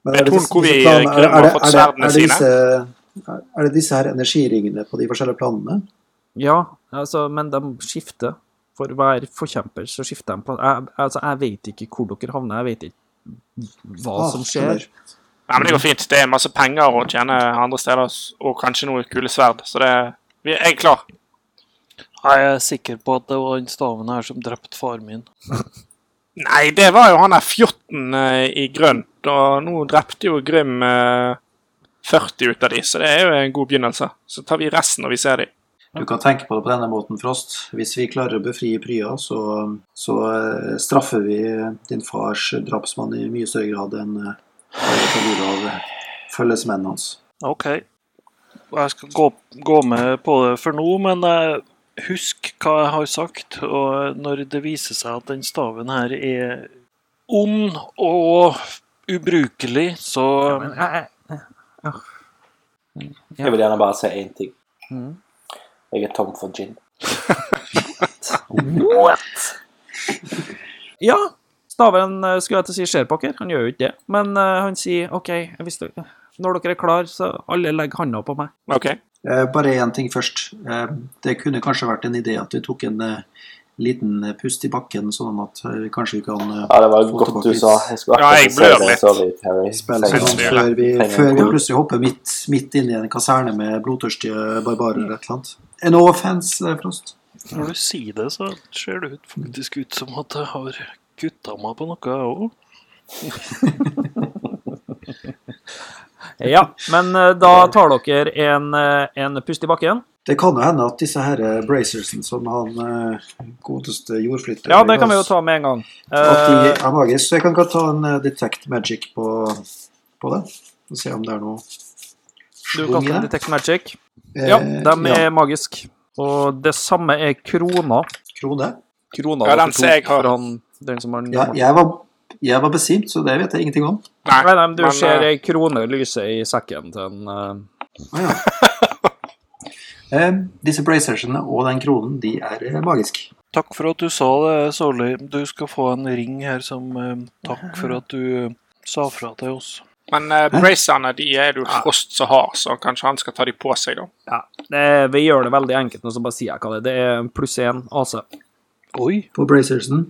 S5: Men
S4: Vet
S5: er det
S4: hun
S5: disse-
S4: hvor vi
S5: disse planene- er-
S4: Grim har
S5: er det-
S4: fått
S5: er det-
S4: sverdene
S5: er det
S4: sine?
S5: disse- er- Er det disse her energiringene på de forskjellige planene?
S9: Ja, altså, men de skifter. For hver forkjemper så skifter de plan. Jeg, altså, jeg vet ikke hvor dere havner, jeg vet ikke hva
S5: Ah,
S9: som
S5: skjønner.
S9: skjer.
S4: Nei, men Det går fint. Det er masse penger å tjene andre steder, og kanskje noe kule sverd. Så det vi- Jeg er klar.
S2: Jeg er sikker på at det var den staven her som drepte faren min.
S4: Nei, det var jo han der fjotten eh, i grønt, og nå drepte jo Grym eh, 40 ut av de, så det er jo en god begynnelse. Så tar vi resten når vi ser de.
S5: Du kan tenke på det på denne måten, Frost. Hvis vi klarer å befri Prya, så, så eh, straffer vi din fars drapsmann i mye større grad enn eh, det tar livet av eh, følgesmennene hans.
S2: OK. Jeg skal gå, gå med på det for nå, men eh, husk hva jeg har sagt. Og når det viser seg at den staven her er ond og ubrukelig, så
S9: Men jeg,
S3: jeg vil gjerne bare si én ting.
S9: Mhm.
S3: Jeg er tom for gin.
S9: Ja, Staven eh, skulle jeg til å si skjer pokker, han gjør jo ikke det. Men eh, han sier OK, hvis du Når dere er klar, så alle legger handa på meg.
S4: OK.
S5: Eh, Bare én ting først. Eh, Det kunne kanskje vært en idé at vi tok en eh, liten eh, pust i bakken, sånn at eh, kanskje vi kan eh,
S3: Ja, det var
S5: Få
S3: godt
S5: tilbake
S3: du sa. Jeg skulle
S4: Ja, jeg
S3: akkurat si
S4: blør
S3: det.
S4: litt.
S3: Sorry, Terry.
S5: spille
S3: Trenger-
S5: sånn
S4: Synes
S5: før vi,
S3: Trenger-
S5: før vi plutselig hopper midt, midt inn i en kaserne med blodtørstige barbarer eller et eller annet. Eh, No offense, eh, Frost.
S2: Når du sier det, så ser det ut, faktisk ut som at jeg har kutta meg på noe, jeg òg.
S9: Ja, men eh, da tar dere en, eh, en pust i bakken.
S5: Det kan jo hende at disse her eh, bracersen som han eh, godeste jordflytter
S9: Ja, det kan vi jo ta med en gang.
S5: At de
S9: Eh,
S5: er magiske. Så jeg kan godt ta en eh, detect magic på, på det. Og se om det er noe
S9: du
S5: schwung i
S9: kaster
S5: det.
S9: Detect Magic.
S5: Eh,
S9: Ja, de
S5: ja,
S9: er magiske. Og det samme er krona.
S5: Krone.
S9: Krona
S4: Ja,
S9: over
S4: den
S9: to,
S4: ser jeg har.
S9: for han, den som har
S5: Ja, jeg var, jeg var besvimt, så det vet jeg ingenting om.
S4: Nei,
S9: Nei, nei, men du
S4: men,
S9: ser
S4: eh,
S9: ei krone lyse i sekken til en eh,
S5: Ah, ja. eh, disse bracersene og den kronen, de er eh, magiske.
S2: Takk for at du sa det, Solli. Du skal få en ring her som eh, takk for at du eh, sa fra til oss.
S4: Men uh, bracerne de er det jo Frost som har, så kanskje han skal ta de på seg, da.
S9: Ja. Det, vi gjør det veldig enkelt nå, så bare sier jeg hva det er. Det er pluss én AC.
S2: Oi!
S5: På bracersen.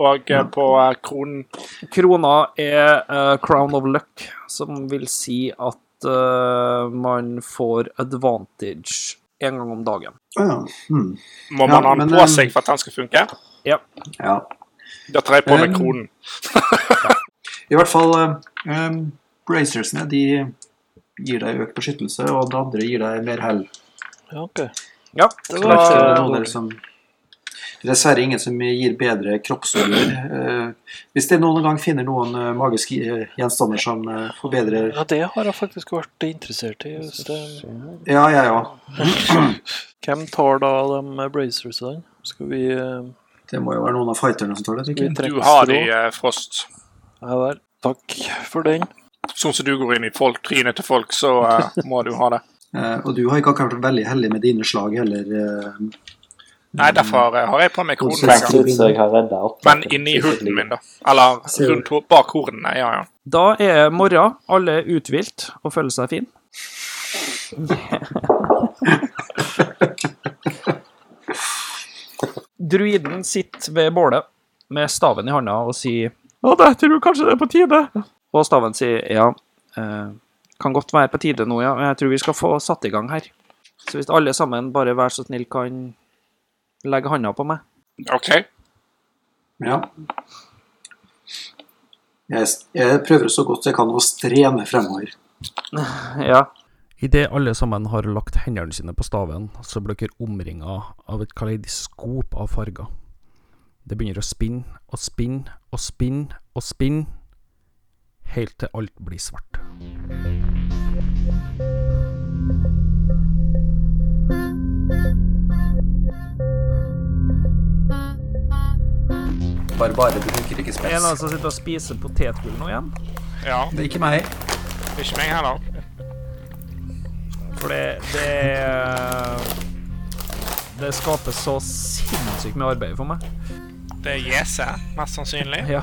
S4: Og eh, på eh, kronen
S9: Krona er eh, crown of luck, som vil si at eh, man får advantage en gang om dagen.
S5: Å ja. Hmm.
S4: må
S5: Ja,
S4: man ha den
S5: men,
S4: på
S5: eh,
S4: seg for at den skal funke.
S5: ja.
S4: Da tar jeg på meg
S5: eh,
S4: kronen.
S5: I hvert fall eh, eh, bracersene, de gir deg økt beskyttelse, og det andre gir deg mer hell.
S2: Ja, ok.
S9: Ja,
S5: Så det er ikke noen der som det er dessverre ingen som gir bedre kroppsåler. Eh, hvis det noen gang finner noen eh, magiske eh, gjenstander som eh, forbedrer
S2: Ja, det har jeg faktisk vært interessert i. Hvis det...
S5: Ja, jeg ja, òg.
S2: Hvem tar da de bracersene? Skal vi eh,
S5: Det må jo være noen av fighterne som tar det, tenker
S2: Vi
S5: jeg.
S2: trekker
S4: Du har
S2: strå.
S4: de, eh, Frost.
S2: Ja vel. Takk for den.
S4: Sånn som du går inn i folk, trynet til folk, så eh, må du ha det.
S5: Eh, og du har ikke akkurat vært veldig heldig med dine slag heller. eh,
S4: Nei, derfor eh, har jeg på meg kronen.
S5: Hvordan
S4: hver
S5: ser
S4: gang.
S3: Trenger
S5: det
S3: ut, så jeg har redda opp.
S4: Men inni huden min, da. Eller
S5: Ser du.
S4: rundt ho- bak hornene, ja ja.
S9: Da er morgen. Alle er uthvilt og føler seg fin. Druiden sitter ved bålet med staven i handa og sier Å, det tror jeg kanskje det er på tide. Og staven sier ja, eh, kan godt være på tide nå, ja, men jeg tror vi skal få satt i gang her. Så hvis alle sammen bare vær så snill kan legge handa på meg.
S4: OK.
S5: Ja. Jeg, jeg prøver så godt jeg kan å strene fremover.
S9: Ja.
S1: Idet alle sammen har lagt hendene sine på staven, så blir dere omringa av et kaleidoskop av farger. Det begynner å spinne og spinne og spinne og spinne, helt til alt blir svart.
S5: Barbare bruker ikke
S9: Er det noen som sitter og spiser potetgull nå igjen?
S4: Ja,
S5: Det er ikke meg.
S4: det er ikke meg heller.
S9: For det, det Det skaper så sinnssykt mye arbeid for meg.
S4: Det er Jese, mest sannsynlig.
S9: Ja.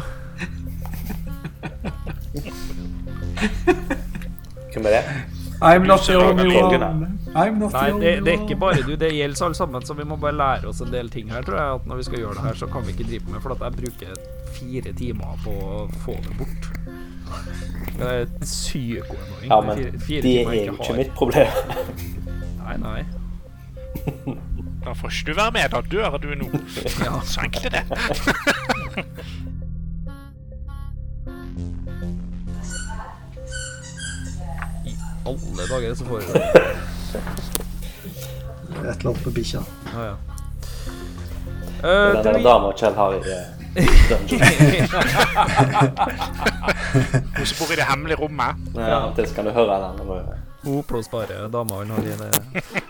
S3: Hvem er det?
S11: I'm not the
S4: Lucifer
S11: only
S4: Berlin.
S11: one. I'm
S1: altså,
S11: not the
S9: Nei, det,
S11: only
S9: det er ikke
S11: one.
S9: bare du, det gjelder alle sammen, så vi må bare lære oss en del ting her, tror jeg. At når vi skal gjøre det her, så kan vi ikke drive med For at jeg bruker fire timer på å få det bort. Det er en psykoannoying.
S3: Ja, men
S9: Fire- fire
S3: det
S9: timer
S3: er
S9: jeg
S3: jo
S9: ikke
S3: ikke
S9: har.
S3: mitt problem.
S9: Nei, nei.
S4: Da får ikke du være med. Da dør du nå.
S9: Ja.
S4: Så enkelt er det.
S9: Alle dager så får jeg det.
S5: Et eller annet på bikkja.
S9: Ja, ja.
S3: Den
S9: Eh,
S3: der
S9: druid-
S3: dama Kjell har i eh, dungeon.
S4: Hun som bor i det hemmelige rommet.
S3: Nei, Av og til så kan du høre den. og-
S9: O pluss bare dama han har i det.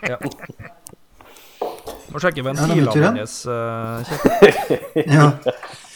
S9: Ja. Må sjekke
S5: Ja, den er
S9: ventilene
S5: tur, den.
S9: hennes. eh, kjekk.
S5: Ja.